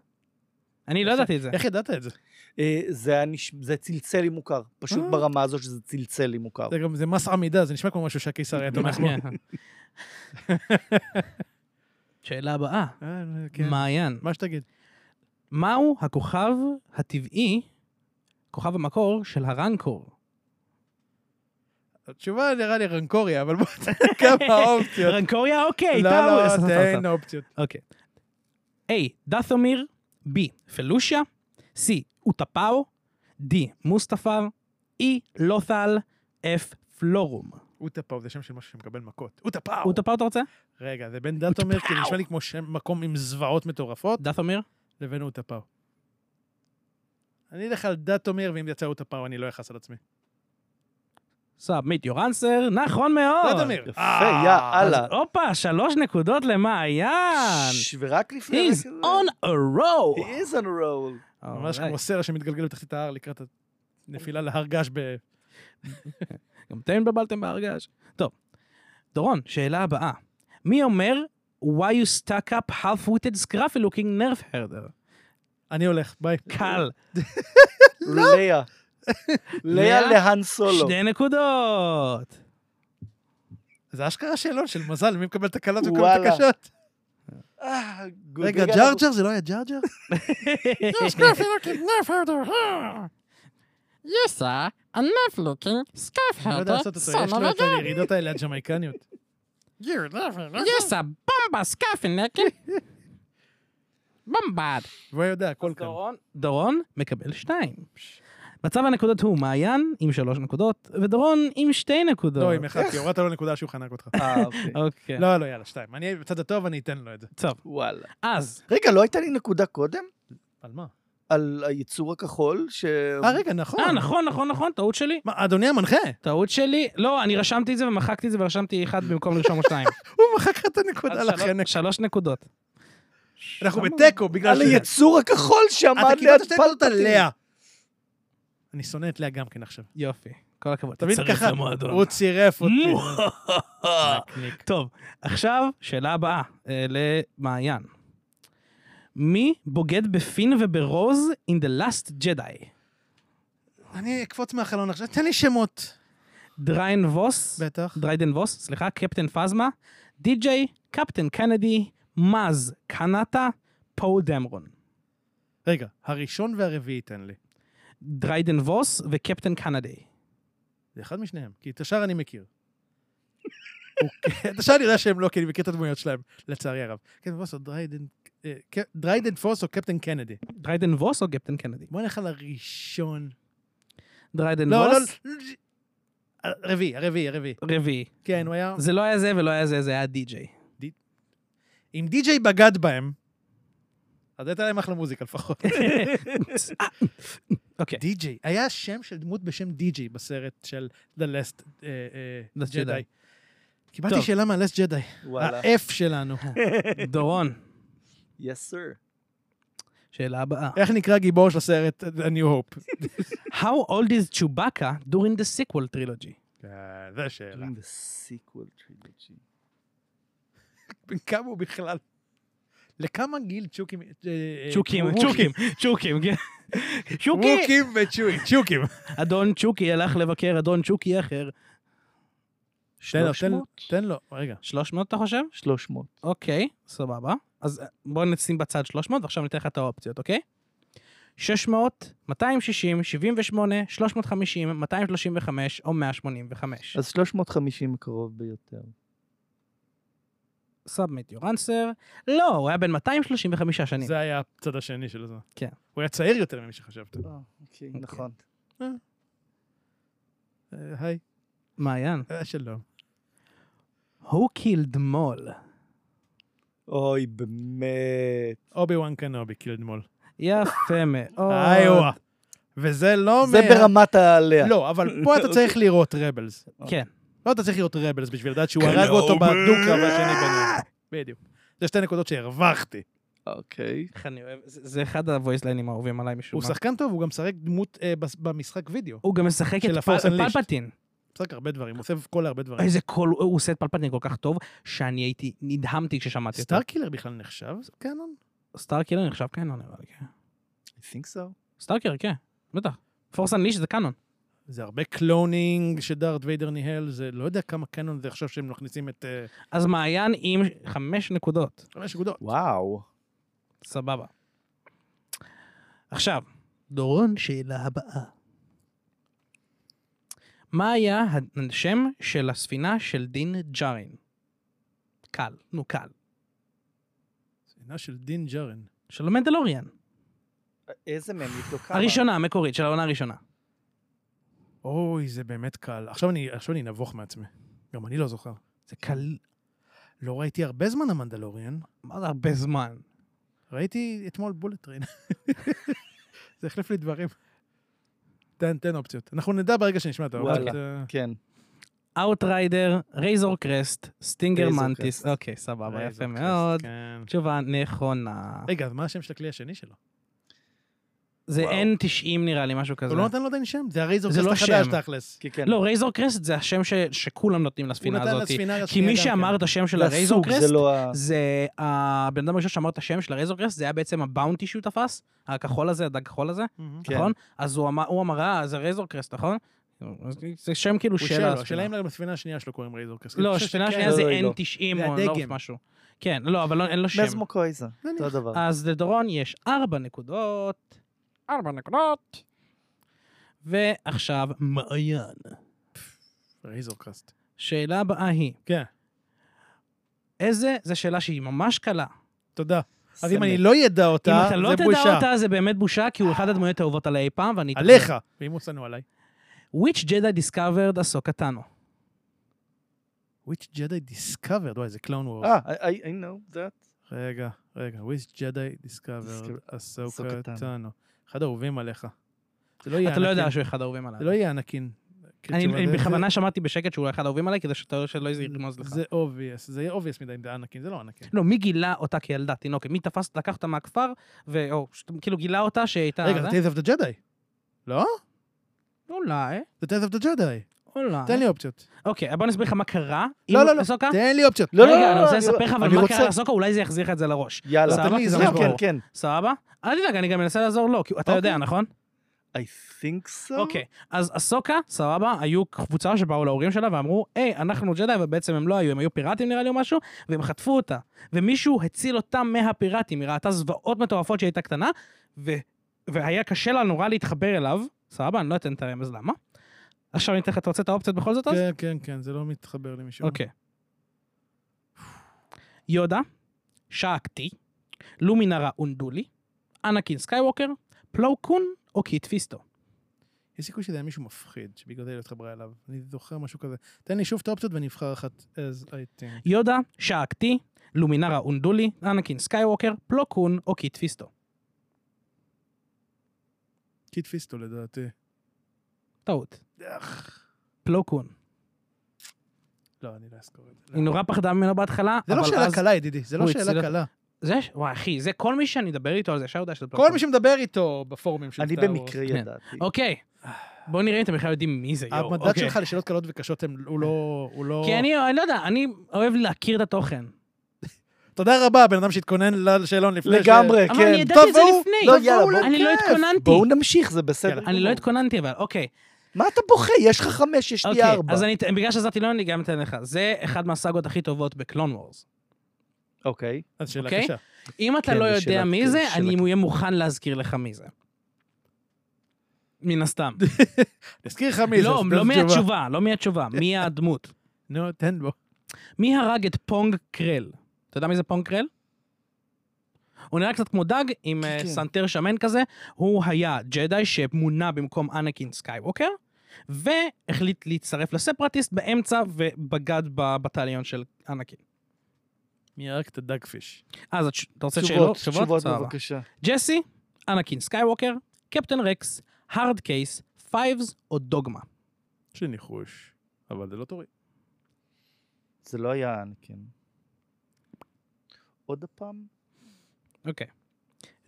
Speaker 1: אני לא ידעתי את זה.
Speaker 2: איך ידעת את זה?
Speaker 3: אה, זה היה נש- זה צלצל לי מוכר. פשוט
Speaker 2: אה.
Speaker 3: ברמה הזו שזה צלצל לי מוכר.
Speaker 2: זה גם, זה מס עמידה, זה נשמע כמו משהו שהקיסר היה תומך בו.
Speaker 1: כן. שאלה הבאה.
Speaker 2: אה, כן.
Speaker 1: מעיין,
Speaker 2: מה שתגיד.
Speaker 1: מהו הכוכב הטבעי, כוכב המקור של הרנקור?
Speaker 2: התשובה נראה לי רנקוריה, אבל בוא תן כמה אופציות.
Speaker 1: רנקוריה? אוקיי,
Speaker 2: לא,
Speaker 1: טאו.
Speaker 2: לא,
Speaker 1: סתם, סתם, סתם.
Speaker 2: תן אופציות.
Speaker 1: אוקיי. A. דת'ומיר, B. פלושיה, C. אוטפאו, D. מוסטפר, E. לות'ל, F. פלורום.
Speaker 2: אוטפאו זה שם של משהו שמקבל מכות. אוטפאו!
Speaker 1: אוטפאו אתה רוצה?
Speaker 2: רגע, זה בין דאטומר, כי זה נשמע לי כמו שם מקום עם זוועות מטורפות,
Speaker 1: דת'ומיר?
Speaker 2: לבין אוטפאו. אני אלך על דאטומר, ואם יצא אוטפאו אני לא אכעס על עצמי.
Speaker 1: סאבמיט יור אנסר, נכון מאוד.
Speaker 2: דאטומיר!
Speaker 3: יפה, יא
Speaker 1: אז
Speaker 3: אללה.
Speaker 1: הופה, שלוש נקודות למעיין.
Speaker 3: ש- ורק לפני...
Speaker 1: He's
Speaker 3: רגע-
Speaker 1: on a
Speaker 3: He
Speaker 1: roll.
Speaker 3: is on a roll.
Speaker 2: ממש
Speaker 1: Alright.
Speaker 2: כמו סלע שמתגלגל בתחתית ההר לקראת הנפילה להר געש ב...
Speaker 1: גם אתם התבלבלתם בהרגש. טוב, דורון, שאלה הבאה. מי אומר why you stuck up half-witted scruffy looking nerf herder?
Speaker 2: אני הולך, ביי.
Speaker 1: קל,
Speaker 3: לאה. לאה
Speaker 1: לא. לאה?
Speaker 3: להאן
Speaker 2: לא,
Speaker 3: סולו.
Speaker 1: שתי נקודות.
Speaker 2: זה אשכרה שאלון של מזל, מי מקבל תקלות ומקבל
Speaker 3: וואלה.
Speaker 2: תקשות.
Speaker 3: אה, גוד,
Speaker 2: רגע,
Speaker 3: רגע,
Speaker 2: ג'רג'ר זה לא היה ג'רג'ר?
Speaker 4: Yes, sir. A nerve-looking scarf
Speaker 2: אני לא
Speaker 4: herder,
Speaker 2: יודע לעשות אותו,
Speaker 4: son
Speaker 2: יש
Speaker 4: of
Speaker 2: לו
Speaker 4: a
Speaker 2: את
Speaker 4: gun.
Speaker 2: הירידות האלה הג'מייקניות.
Speaker 1: לא,
Speaker 4: Yes, sir. Bomba scarf necking. Bombard.
Speaker 2: והוא יודע, הכל כאן.
Speaker 1: דורון, דורון מקבל שתיים. מצב הנקודות הוא מעיין עם שלוש נקודות, ודורון עם שתי נקודות.
Speaker 2: לא, עם אחד, כי הורדת לו נקודה שהוא חנק אותך.
Speaker 3: אה, אוקיי.
Speaker 1: אוקיי.
Speaker 2: לא, לא, יאללה, שתיים. אני בצד הטוב, אני אתן לו את זה.
Speaker 1: טוב,
Speaker 3: וואלה.
Speaker 1: אז,
Speaker 3: רגע, לא הייתה לי נקודה קודם?
Speaker 1: אה,
Speaker 2: על מה?
Speaker 3: על היצור הכחול? ש...
Speaker 2: אה, רגע, נכון.
Speaker 1: אה, נכון, נכון, נכון, טעות שלי.
Speaker 2: מה, אדוני המנחה,
Speaker 1: טעות שלי. לא, אני רשמתי את זה ומחקתי את זה ורשמתי אחד במקום לרשום שתיים.
Speaker 2: הוא מחק לך את הנקודה
Speaker 1: אז
Speaker 2: לחנק.
Speaker 1: שלוש- שלוש נקודות.
Speaker 2: אנחנו
Speaker 1: למה?
Speaker 2: בתיקו, בגלל
Speaker 3: על
Speaker 2: ש...
Speaker 3: היצור הכחול שעמד
Speaker 2: אתה
Speaker 3: ליד
Speaker 2: קיבלת שתי נקודות על
Speaker 3: פלפטין.
Speaker 2: לאה. אני שונא את לאה גם כן עכשיו.
Speaker 1: יופי. כל הכבוד.
Speaker 2: תמיד
Speaker 1: תצרף
Speaker 2: ככה,
Speaker 1: למועדון.
Speaker 2: הוא צירף אותי.
Speaker 1: נקניק. טוב, עכשיו, שאלה הבאה אה, למעיין. מי בוגד בפין וברוז in the last Jedi?
Speaker 2: אני אקפוץ מהחלון עכשיו, תן לי שמות.
Speaker 1: דריין ווס,
Speaker 2: בטח.
Speaker 1: דריידן ווס, סליחה, קפטן פזמה, די.ג'יי, קפטן קנדי, מאז קנטה, פול דמרון.
Speaker 2: רגע, הראשון והרביעי תן לי.
Speaker 1: דריידן ווס וקפטן קנדי.
Speaker 2: זה אחד משניהם, כי את השאר אני מכיר. אוקיי, את השאר אני יודע שהם לא, כי אני מכיר את הדמויות שלהם, לצערי הרב. כן, פוס או דריידן... אה, ק- דריידן פוס או קפטן קנדי.
Speaker 1: דריידן ווס או קפטן קנדי?
Speaker 2: בוא נלך על הראשון.
Speaker 1: דריידן
Speaker 2: לא, לא,
Speaker 1: ווס,
Speaker 2: לא, הרביעי, הרביעי, הרביעי.
Speaker 1: רביעי.
Speaker 2: כן, הוא היה...
Speaker 1: זה לא היה זה ולא היה זה, זה היה די.ג'יי.
Speaker 2: אם די.ג'יי בגד בהם, אז הייתה להם אחלה מוזיקה לפחות.
Speaker 1: אוקיי.
Speaker 2: די.ג'יי, היה שם של דמות בשם די.ג'יי בסרט של The Last
Speaker 1: Last
Speaker 2: ג'די.
Speaker 1: Jedi.
Speaker 2: קיבלתי
Speaker 1: טוב.
Speaker 2: שאלה מהלסט ג'די.
Speaker 3: וואלה.
Speaker 2: ה-F שלנו.
Speaker 1: דורון,
Speaker 3: יס סר.
Speaker 1: שאלה הבאה.
Speaker 2: איך נקרא גיבור של הסרט The New Hope?
Speaker 1: How old is Chewbacca during the sequel trilogy?
Speaker 2: אה, זה שאלה.
Speaker 3: During the sequel trilogy.
Speaker 2: בן כמה הוא בכלל? לכמה גיל צ'וקים... אה, אה,
Speaker 1: צ'וקים,
Speaker 2: ווקים?
Speaker 1: צ'וקים, צ'וקים, כן. צ'וקי!
Speaker 2: ווקים וצ'וקים, צ'וקים.
Speaker 1: אדון צ'וקי הלך לבקר אדון צ'וקי אחר.
Speaker 2: תן לו,
Speaker 3: 300?
Speaker 2: תן לו, רגע.
Speaker 1: 300 אתה חושב?
Speaker 3: 300.
Speaker 1: אוקיי, סבבה. אז אה, בוא נשים בצד 300 ועכשיו ניתן לך את האופציות, אוקיי? 600, 260, 78, 350, 235 או 185.
Speaker 3: אז 350 הקרוב ביותר.
Speaker 1: סאבמיט יור אנסר. לא, הוא היה בן 235 שנים.
Speaker 2: זה היה הצד השני של הזמן.
Speaker 1: כן.
Speaker 2: הוא היה צעיר יותר ממי שחשבת.
Speaker 3: אוקיי, נכון.
Speaker 2: אה, היי.
Speaker 1: מעיין.
Speaker 2: אה, שלום.
Speaker 1: Who killed מול?
Speaker 3: אוי, באמת.
Speaker 2: אובי וואן קנובי, קילד מול.
Speaker 1: יפה מאוד.
Speaker 2: איואה. וזה לא...
Speaker 3: זה
Speaker 2: מה-
Speaker 3: ברמת העליה.
Speaker 2: לא, אבל פה אתה צריך לראות רבלס.
Speaker 1: כן.
Speaker 2: לא אתה צריך להיות רבלס בשביל לדעת שהוא הרג אותו בדו-קרב השני ביניהם. בדיוק. זה שתי נקודות שהרווחתי.
Speaker 3: אוקיי.
Speaker 1: איך אני אוהב, זה זה אחד הוויסליינים האהובים עליי משום
Speaker 2: הוא
Speaker 1: מה.
Speaker 2: שחקן טוב, הוא גם משחק דמות אה, בס- במשחק וידאו.
Speaker 1: הוא גם משחק
Speaker 2: של
Speaker 1: את
Speaker 2: ה-Force
Speaker 1: פל-
Speaker 2: Unleashed.
Speaker 1: פלפטין.
Speaker 2: הוא משחק הרבה דברים, הוא עושה כל הרבה דברים.
Speaker 1: איזה קול, הוא הוא עושה את פלפטין כל כך טוב, שאני הייתי, נדהמתי כששמעתי אותו.
Speaker 2: סטארקילר בכלל נחשב קאנון?
Speaker 1: סטארקילר נחשב קאנון, נראה לי, כן.
Speaker 3: I think so.
Speaker 1: סטארקילר, כן, בטח. פורס אנליש זה קאנון.
Speaker 2: זה הרבה קלונינג שדארט ויידר ניהל, זה לא יודע כמה קאנון זה עכשיו שהם מכניסים את אה,
Speaker 1: אז מעיין עם חמש נקודות.
Speaker 2: חמש נקודות.
Speaker 3: וואו.
Speaker 1: סבבה. עכשיו, דורון, שאלה הבאה. מה היה השם של הספינה של דין ג'ארין? קל, נו קל.
Speaker 2: ספינה של דין ג'רן.
Speaker 1: של המנדלוריאן.
Speaker 3: איזה מהם התלוקה?
Speaker 1: הראשונה, המקורית, של העונה הראשונה.
Speaker 2: אוי, זה באמת קל. עכשיו אני, עכשיו אני נבוך מעצמי. גם אני לא זוכר.
Speaker 1: זה קל,
Speaker 2: לא ראיתי הרבה זמן המנדלוריאן.
Speaker 1: מה זה הרבה זמן?
Speaker 2: ראיתי אתמול בולט טריין. זה החליף לי דברים. תן, תן אופציות. אנחנו נדע ברגע שנשמע את האופציות. אה,
Speaker 3: כן.
Speaker 1: Outrider, רייזור קרסט, סטינגר
Speaker 3: Razor
Speaker 1: מנטיס.
Speaker 3: Crest.
Speaker 1: אוקיי, סבבה,
Speaker 2: אה,
Speaker 1: יפה
Speaker 2: זאת
Speaker 1: מאוד. אה.
Speaker 2: כן.
Speaker 1: תשובה נכונה.
Speaker 2: רגע, אז מה השם של הכלי השני שלו?
Speaker 1: זה
Speaker 3: וואו.
Speaker 1: N90 נראה לי, משהו כזה.
Speaker 2: הוא לא נתן לו עדיין שם, זה הרייזור
Speaker 1: זה
Speaker 2: קרסט
Speaker 1: לא
Speaker 2: החדש
Speaker 1: שם.
Speaker 2: תכלס.
Speaker 3: כי כן.
Speaker 1: לא, רייזור קרסט זה השם ש- שכולם נותנים
Speaker 2: הוא
Speaker 1: לספינה
Speaker 2: נתן
Speaker 1: הזאת.
Speaker 2: לספינה
Speaker 1: כי
Speaker 2: השנייה
Speaker 1: מי
Speaker 2: גם
Speaker 1: שאמר
Speaker 2: כן.
Speaker 1: את השם של
Speaker 3: לסוג,
Speaker 1: הרייזור
Speaker 3: זה
Speaker 1: קרסט,
Speaker 3: לא ה...
Speaker 1: זה הבן אדם הראשון שאמר את השם של הרייזור קרסט, זה היה בעצם הבאונטי שהוא תפס, הכחול הזה, הדג הכחול הזה,
Speaker 2: מהמם.
Speaker 3: כן.
Speaker 1: נכון? אז הוא אמר- הוא אמר, אה, זה רייזור קרסט, נכון? אז זה שם כאילו
Speaker 2: הוא
Speaker 1: של
Speaker 2: שלו,
Speaker 1: הספינה.
Speaker 2: השאלה אם לספינה השנייה שלו קוראים רייזור קרסט.
Speaker 1: לא,
Speaker 2: אני חושב
Speaker 1: השפינה
Speaker 2: שכן.
Speaker 1: השנייה
Speaker 3: לא,
Speaker 1: זה
Speaker 3: לא, היא לא.
Speaker 1: N90
Speaker 2: זה
Speaker 1: או
Speaker 2: הדגם.
Speaker 1: נורף משהו. כן, לא, אבל לא- אין לו שם.
Speaker 3: מזמוקויזה, אותו הדבר.
Speaker 1: אז לדורון יש ארבע נקודות,
Speaker 4: ארבע נקודות.
Speaker 1: ועכשיו מעיין.
Speaker 2: רייזור קרסט.
Speaker 1: שאלה הבאה היא,
Speaker 2: כן,
Speaker 1: איזה, זו שאלה שהיא ממש קלה.
Speaker 2: תודה. אז אם
Speaker 3: סמל.
Speaker 2: אני לא ידע
Speaker 1: אם
Speaker 2: אותה,
Speaker 1: אתה לא
Speaker 2: זה
Speaker 1: תדע
Speaker 2: בושה.
Speaker 1: אותה, זה באמת בושה, כי הוא אחד הדמויות האהובות עליי אי פעם, ואני...
Speaker 2: עליך. ואם הוא שנוא עליי.
Speaker 1: Which Jedi discovered Ahsoka Tano?
Speaker 2: Which Jedi discovered, וואי, זה קלון וור.
Speaker 3: אה, I I know that.
Speaker 2: רגע, רגע, which Jedi discovered
Speaker 3: Discovered-
Speaker 2: Ahsoka
Speaker 3: Ahsoka Tano.
Speaker 2: Tano. אחד האהובים עליך. זה לא יהיה
Speaker 1: אתה לא יודע
Speaker 2: ענקין.
Speaker 1: שהוא אחד האהובים
Speaker 2: זה לא
Speaker 1: עליי.
Speaker 2: יהיה ענקין.
Speaker 1: אני
Speaker 2: כתשובה,
Speaker 1: אני
Speaker 2: זה-
Speaker 1: בכוונה שמעתי בשקט שהוא לא אחד האהובים עליי, כדי שאתה- שלא איזה ירמוז לך.
Speaker 2: זה אובייס, זה יהיה אובייס מדי אם זה ענקין, זה לא ענקין.
Speaker 1: לא, מי גילה אותה כילדה, תינוקת? מי תפס, לקח אותה מהכפר, ו- או שאתה כאילו גילה אותה שהיא הייתה...
Speaker 2: רגע,
Speaker 1: זה?
Speaker 2: זה Tales of the Jedi. לא?
Speaker 1: אולי,
Speaker 2: זה Tales of the Jedi.
Speaker 1: אולי.
Speaker 2: תן לי אופציות.
Speaker 1: אוקיי, בוא נסביר לך מה קרה.
Speaker 2: לא,
Speaker 1: עם
Speaker 2: לא, לא,
Speaker 1: אסוקה.
Speaker 2: תן לי אופציות.
Speaker 3: לא,
Speaker 1: רגע, אני רוצה לספר לך, אבל
Speaker 3: אני
Speaker 1: מה
Speaker 3: רוצה-
Speaker 1: קרה לסוקה, אולי זה יחזיר לך את זה לראש.
Speaker 3: יאללה.
Speaker 1: סבבה, כי זה
Speaker 3: כן,
Speaker 1: לא ברור.
Speaker 3: כן, כן.
Speaker 1: סבבה? אל תדאג, אני גם מנסה לעזור לו, כי אתה
Speaker 3: אוקיי.
Speaker 1: יודע, נכון?
Speaker 3: I think so.
Speaker 1: אוקיי. אז אסוקה, סבבה, היו קבוצה שבאו להורים שלה ואמרו, היי, אנחנו ג'די, ובעצם הם לא היו, הם היו פיראטים נראה לי או משהו, והם חטפו אותה. ומישהו הציל אותה מהפיראטים, היא ראתה זוועות מטורפות שהיא הייתה קטנה, ו... והיה קשה לה נורא להתחבר אליו, סבבה, אני לא אתן את הרמז למה. עכשיו אני אתן לך, אתה רוצה את האופציות בכל זאת אז?
Speaker 2: כן, כן, כן, זה לא מתחבר לי משום מה.
Speaker 1: אוקיי. יודה, שעקתי, לומינרה אונדולי, אנקין סקייווקר, פלו קון או קיט פיסטו.
Speaker 2: יש סיכוי שזה היה מישהו מפחיד, שבגלל זה היא לא התחברה אליו. אני זוכר משהו כזה. תן לי שוב את האופציות ונבחר אחת as I think.
Speaker 1: יודה, שעקתי, לומינרה אונדולי, אנקין סקייווקר, פלו קון או קיט פיסטו.
Speaker 2: קיט פיסטו לדעתי.
Speaker 1: טעות.
Speaker 2: אך.
Speaker 1: פלו קון.
Speaker 2: לא, אני לא אזכור את זה.
Speaker 1: היא נורא פחדה ממנו בהתחלה,
Speaker 2: זה לא
Speaker 1: אבל
Speaker 2: שאלה
Speaker 1: אז-
Speaker 2: קלה, ידידי, זה לא
Speaker 1: הוא הציל
Speaker 2: שאלה
Speaker 1: אותו.
Speaker 2: קלה.
Speaker 1: זה ש- וואי, אחי, זה כל מי שאני אדבר איתו על זה, ישר יודע שזה פלו
Speaker 2: לא, כל
Speaker 1: קון.
Speaker 2: מי שמדבר איתו בפורומים של
Speaker 3: אני
Speaker 2: סטאר
Speaker 3: במקרה
Speaker 1: כן.
Speaker 3: ידעתי.
Speaker 1: אוקיי. בואו נראה אם אתם בכלל יודעים מי זה, יואו.
Speaker 2: וורס. המדד
Speaker 1: אוקיי.
Speaker 2: שלך לשאלות קלות וקשות, הם- הוא לא... הוא לא...
Speaker 1: כי אני, אני לא יודע, אני אוהב להכיר את התוכן.
Speaker 2: תודה רבה, בן אדם שהתכונן לשאלון לפני ש...
Speaker 3: לגמרי, כן.
Speaker 1: אבל אני ידעתי את זה
Speaker 3: תבואו-
Speaker 1: לפני.
Speaker 3: לא,
Speaker 1: תבואו
Speaker 3: יאללה, בואו-
Speaker 1: אני לא התכוננתי.
Speaker 3: בואו נמשיך, זה בסדר.
Speaker 2: יאללה.
Speaker 1: אני לא התכוננתי אבל, אוקיי.
Speaker 3: מה אתה בוכה? יש לך חמש, יש לי
Speaker 1: אוקיי,
Speaker 3: ארבע.
Speaker 1: אז אני, בגלל שעזרתי לו, אני גם אתן לך. זה אחד מהסאגות הכי טובות בקלון וורס.
Speaker 3: אוקיי.
Speaker 2: אז שאלה
Speaker 1: אוקיי?
Speaker 2: קשה.
Speaker 1: אם אתה
Speaker 3: כן,
Speaker 1: לא
Speaker 3: זו
Speaker 1: יודע
Speaker 3: שאלה-
Speaker 1: מי
Speaker 3: זו
Speaker 1: זה,
Speaker 3: שאלה-
Speaker 1: אני אהיה מוכן להזכיר לך מי זה. מן הסתם.
Speaker 2: נזכיר לך מי זה.
Speaker 1: לא,
Speaker 2: אז
Speaker 1: לא
Speaker 2: זאת תשובה.
Speaker 1: מהתשובה, לא מהתשובה, מי הדמות.
Speaker 2: נו, תן בו.
Speaker 1: מי הרג את פונג קרל? אתה יודע מי זה פונג קרל? הוא נראה קצת כמו דג עם אה,
Speaker 3: כן.
Speaker 1: סנטר שמן כזה. הוא היה ג'די שמונה במקום אנקין סקייווקר, והחליט להצטרף לספרטיסט באמצע ובגד בבטליון של אנקין.
Speaker 2: מי הרג את הדאגפיש?
Speaker 1: אז התש- אתה רוצה שאלות?
Speaker 3: תשובות, תשובות
Speaker 1: סבבה.
Speaker 3: בבקשה.
Speaker 1: ג'סי, אנקין סקייווקר, קפטן רקס, הארד קייס, פייבס או דוגמה.
Speaker 2: יש לי ניחוש, אבל זה לא תורי.
Speaker 3: זה לא היה אנקן. עוד פעם?
Speaker 1: אוקיי.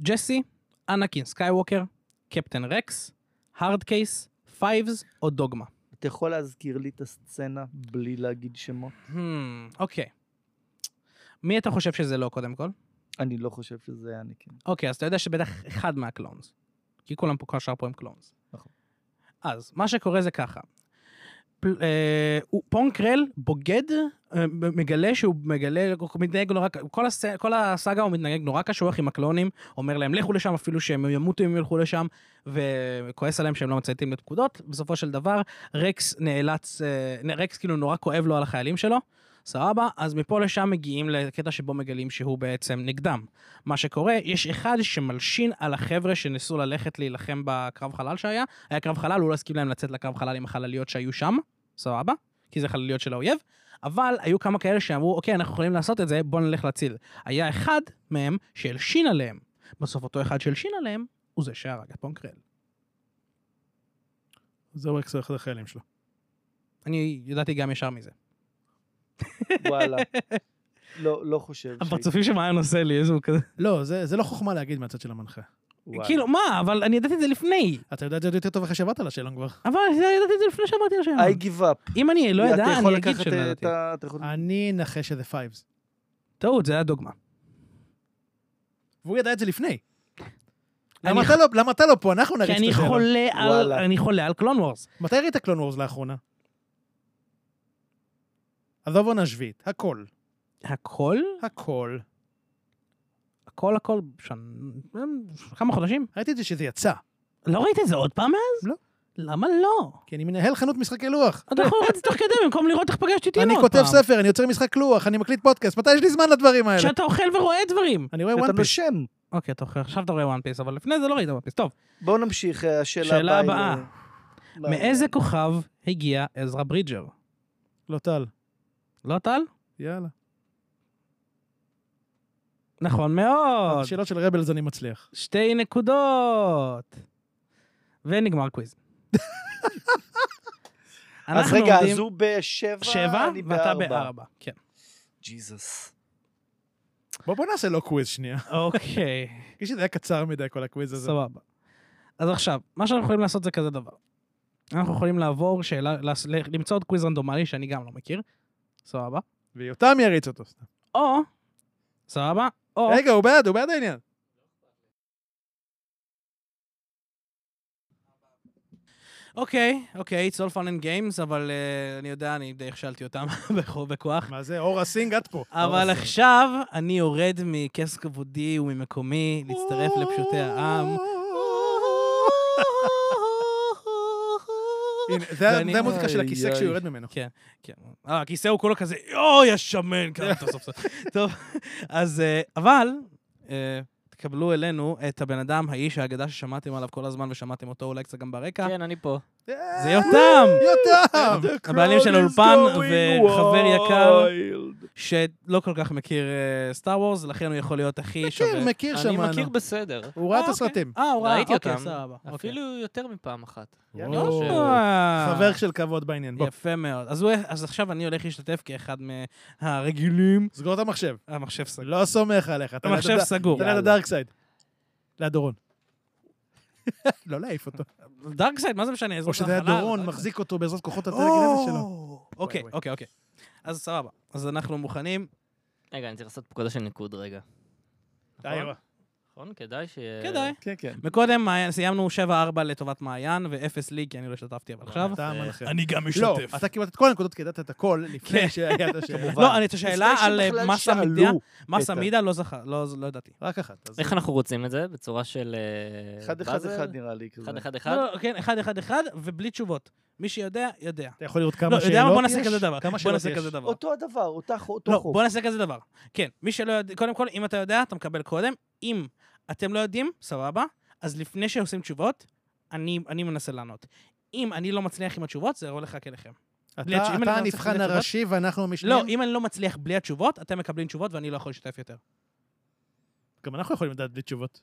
Speaker 1: ג'סי, אנקין סקייווקר, קפטן רקס, הארד קייס, פייבס או דוגמה.
Speaker 3: אתה יכול להזכיר לי את הסצנה בלי להגיד שמות?
Speaker 1: Hmm, אוקיי. מי אתה חושב שזה לא קודם כל?
Speaker 3: אני לא חושב שזה היה אנקן.
Speaker 1: אוקיי, אז אתה יודע שבטח אחד מהקלונס. כי כולם פה, כל השאר פה הם קלונס.
Speaker 3: נכון.
Speaker 1: אז, מה שקורה זה ככה. פל- אה, הוא- פונקרל בוגד, אה, מגלה שהוא מגלה, הוא מתנהג נורא, ק- כל, הס, כל הסאגה הוא מתנהג נורא קשוח עם הקלונים, אומר להם לכו לשם אפילו שהם ימותו אם ילכו לשם, וכועס עליהם שהם לא מצייתים לפקודות. בסופו של דבר, רקס נאלץ, אה, רקס כאילו נורא כואב לו על החיילים שלו. סבבה, אז מפה לשם מגיעים לקטע שבו מגלים שהוא בעצם נגדם. מה שקורה, יש אחד שמלשין על החבר'ה שניסו ללכת להילחם בקרב חלל שהיה, היה קרב חלל, הוא לא הסכים להם לצאת לקרב חלל עם החלליות שהיו שם, סבבה, כי זה חלליות של האויב, אבל היו כמה כאלה שאמרו, אוקיי, אנחנו יכולים לעשות את זה, בואו נלך להציל. היה אחד מהם שהלשין עליהם. בסוף אותו אחד שהלשין עליהם, הוא זה שהרג את פונקרל.
Speaker 2: זהו אקס אחד החיילים שלו.
Speaker 1: אני ידעתי גם ישר מזה.
Speaker 3: וואלה. לא, לא חושב
Speaker 1: הפרצופים שמעיין עושה לי, איזה הוא כזה...
Speaker 2: לא, זה זה לא חוכמה להגיד מהצד של המנחה.
Speaker 3: וואלה.
Speaker 1: כאילו, מה? אבל אני ידעתי את זה לפני.
Speaker 2: אתה יודע את זה עוד יותר טוב אחרי שעברת על השאלון כבר.
Speaker 1: אבל ידעתי את זה לפני שאמרתי לשם.
Speaker 3: I give up.
Speaker 1: אם אני לא אדע,
Speaker 3: אתה יכול
Speaker 1: אני אגיד
Speaker 3: לקחת
Speaker 1: שלא
Speaker 3: את
Speaker 1: ידעתי.
Speaker 3: ה- אתה יכול-
Speaker 2: אני אנחש שזה פייבס.
Speaker 1: טעות, זה היה דוגמה.
Speaker 2: והוא ידע את זה לפני.
Speaker 1: אני
Speaker 2: למה אתה לא- למה אתה לא פה? אנחנו נריץ
Speaker 1: כי
Speaker 2: את
Speaker 1: אני
Speaker 2: השאלון.
Speaker 1: חולה על...
Speaker 3: וואלה.
Speaker 1: אני חולה על קלון וורס.
Speaker 2: מתי ראית קלון וורז לאחרונה? עזוב עונה שביעית, הכל.
Speaker 1: הכל?
Speaker 2: הכל.
Speaker 1: הכל הכל שנה... כמה חודשים?
Speaker 2: ראיתי את זה שזה יצא,
Speaker 1: לא ראית את זה עוד פעם מאז?
Speaker 2: לא.
Speaker 1: למה לא?
Speaker 2: כי אני מנהל חנות משחקי לוח.
Speaker 1: אתה יכול לראות את זה תוך כדי במקום לראות איך פגשתי אותי עוד
Speaker 2: אני
Speaker 1: פעם.
Speaker 2: כותב ספר, אני יוצר משחק לוח, אני מקליט פודקאסט, מתי יש לי זמן לדברים האלה?
Speaker 1: שאתה אוכל ורואה דברים.
Speaker 2: אני רואה
Speaker 3: אתה
Speaker 2: וואן פיס.
Speaker 3: נושם.
Speaker 1: אוקיי, אתה אוכל, עכשיו אתה רואה וואן פיס, אבל לפני זה לא ראית וואן פיס. טוב,
Speaker 3: בואו נמשיך, אה, השאלה
Speaker 1: שאלה
Speaker 3: הבאה. לא, היא-
Speaker 1: הבאה.
Speaker 3: מה-
Speaker 1: מאיזה כוכב הגיע עזרא ברידג'ר?
Speaker 2: לא טל.
Speaker 1: לא טל?
Speaker 2: יאללה.
Speaker 1: נכון מאוד.
Speaker 2: שאלות של רבלס אני מצליח.
Speaker 1: שתי נקודות. ונגמר קוויז.
Speaker 3: אז
Speaker 1: אנחנו
Speaker 3: רגע,
Speaker 1: עומדים
Speaker 3: אז הוא בשבע,
Speaker 1: שבע
Speaker 3: אני
Speaker 1: ואתה
Speaker 3: בארבע.
Speaker 1: בארבע. כן.
Speaker 3: ג'יזוס.
Speaker 2: בוא בוא נעשה לו קוויז שנייה.
Speaker 1: אוקיי.
Speaker 2: כי שזה היה קצר מדי כל הקוויז הזה.
Speaker 1: סבבה. אז עכשיו, מה שאנחנו יכולים לעשות זה כזה דבר. אנחנו יכולים לעבור שאלה, לעס- ל- למצוא עוד קוויז רנדומלי שאני גם לא מכיר, סבבה.
Speaker 2: ויותם יריץ אותו. סתם.
Speaker 1: או, סבבה, או,
Speaker 2: רגע, הוא בעד, הוא בעד העניין.
Speaker 1: אוקיי, אוקיי, it's all fun and games, אבל אה, אני יודע, אני די הכשלתי אותם בכו- בכוח.
Speaker 2: מה זה, אורה סינג, את פה.
Speaker 1: אבל עכשיו אני יורד מכס כבודי וממקומי להצטרף לפשוטי העם.
Speaker 2: הנה, זה
Speaker 1: ואני-
Speaker 2: זה המוזיקה של הכיסא
Speaker 3: איי,
Speaker 2: כשהוא
Speaker 3: איי.
Speaker 2: יורד ממנו.
Speaker 1: כן, כן. אה, הכיסא הוא כולו כזה, אוי, השמן, כזה, טוב, סוף סוף. טוב, אז, אה, אבל, אה, תקבלו אלינו את הבן אדם, האיש האגדה ששמעתם עליו כל הזמן ושמעתם אותו אולי קצת גם ברקע.
Speaker 4: כן, אני פה.
Speaker 1: זה יותם,
Speaker 2: יותם!
Speaker 1: הבעלים של האולפן וחבר יקר שלא כל כך מכיר סטאר וורס, לכן הוא יכול להיות הכי שווה.
Speaker 2: מכיר, מכיר
Speaker 5: אני
Speaker 2: שמענו.
Speaker 5: מכיר בסדר.
Speaker 2: הוא ראה
Speaker 1: אה,
Speaker 2: את
Speaker 1: אוקיי.
Speaker 2: הסרטים.
Speaker 1: אה, הוא ראה,
Speaker 5: ראיתי
Speaker 1: אוקיי,
Speaker 5: אותם.
Speaker 1: סבבה. אוקיי.
Speaker 5: אפילו לא יותר מפעם אחת.
Speaker 2: יאללה.
Speaker 5: אני חושב.
Speaker 1: אה,
Speaker 2: לא חבר של כבוד בעניין, בוא.
Speaker 1: יפה מאוד. אז, הוא, אז עכשיו אני הולך להשתתף כאחד מהרגילים.
Speaker 2: סגור את המחשב.
Speaker 1: המחשב סגור.
Speaker 2: לא סומך עליך. אתה ליד
Speaker 1: המחשב
Speaker 2: הד-
Speaker 1: סגור.
Speaker 2: אתה ליד הדארקסייד. ליד דורון. לא להעיף אותו.
Speaker 1: דארקסייד, מה זה משנה?
Speaker 2: או
Speaker 1: אזור
Speaker 2: שזה היה
Speaker 1: החלל,
Speaker 2: דורון,
Speaker 1: דארקסייד.
Speaker 2: מחזיק אותו בעזרת כוחות הטלגנזה שלו.
Speaker 1: אה, או, אוקיי,
Speaker 2: וואי,
Speaker 1: אוקיי, אוקיי. אז סבבה. אז אנחנו מוכנים.
Speaker 5: רגע, אני צריך לעשות פקודה של ניקוד רגע.
Speaker 1: אה,
Speaker 2: די,
Speaker 5: נכון?
Speaker 2: רואה.
Speaker 5: נכון? כדאי ש...
Speaker 3: אה.
Speaker 1: כדאי.
Speaker 2: כן, כן.
Speaker 1: מקודם מעיין- סיימנו 7-4 לטובת מעיין, ו-0 לי, כי אני לא השתתפתי, אבל עכשיו...
Speaker 2: אתה
Speaker 5: אה,
Speaker 2: המנחה.
Speaker 1: אני גם
Speaker 2: לא, אתה קיבלת את כל הנקודות, כי ידעת את הכל לפני
Speaker 1: כן.
Speaker 2: שהיה את השאלה.
Speaker 1: לא, אני את השאלה
Speaker 3: לפני
Speaker 1: על אה,
Speaker 3: שבכלל
Speaker 1: מסה
Speaker 3: שאלו
Speaker 1: מידיה,
Speaker 3: את
Speaker 1: מסה
Speaker 3: ה-
Speaker 1: מידיה לא זכה, לא לא ידעתי.
Speaker 2: רק אחת. אז-
Speaker 5: איך אנחנו רוצים את זה? בצורה של... אה,
Speaker 3: אחד אחד
Speaker 5: באזל?
Speaker 3: אחד נראה לי כזה.
Speaker 5: אחד אחד אחד?
Speaker 1: לא, לא, כן, 1-1-1 ובלי תשובות. מי שיודע, יודע.
Speaker 2: אתה יכול לראות
Speaker 1: לא,
Speaker 2: כמה
Speaker 1: יודע מה? בוא
Speaker 2: שאלות
Speaker 1: נעשה
Speaker 2: יש?
Speaker 1: כזה דבר.
Speaker 2: כמה
Speaker 1: בוא
Speaker 2: שאלות
Speaker 1: נעשה
Speaker 2: יש?
Speaker 1: כזה דבר.
Speaker 3: אותו הדבר, אותה ח- אותו
Speaker 1: לא,
Speaker 3: חוק.
Speaker 1: בוא נעשה כזה דבר. כן, מי שלא יודע, קודם כל, אם אתה יודע, אתה מקבל קודם. אם אתם לא יודעים, סבבה, אז לפני שעושים תשובות, אני, אני מנסה לענות. אם אני לא מצליח עם התשובות, זה הולך רק אליכם. בלי
Speaker 2: אתה-
Speaker 1: התש- אם אני
Speaker 2: אתה
Speaker 1: לא צריך
Speaker 2: הנבחן
Speaker 1: לתת
Speaker 2: הראשי ואנחנו המשנים.
Speaker 1: לא, אם אני לא מצליח בלי התשובות, אתם מקבלים תשובות ואני לא יכול לשתף יותר.
Speaker 2: גם אנחנו יכולים לדעת בלי תשובות.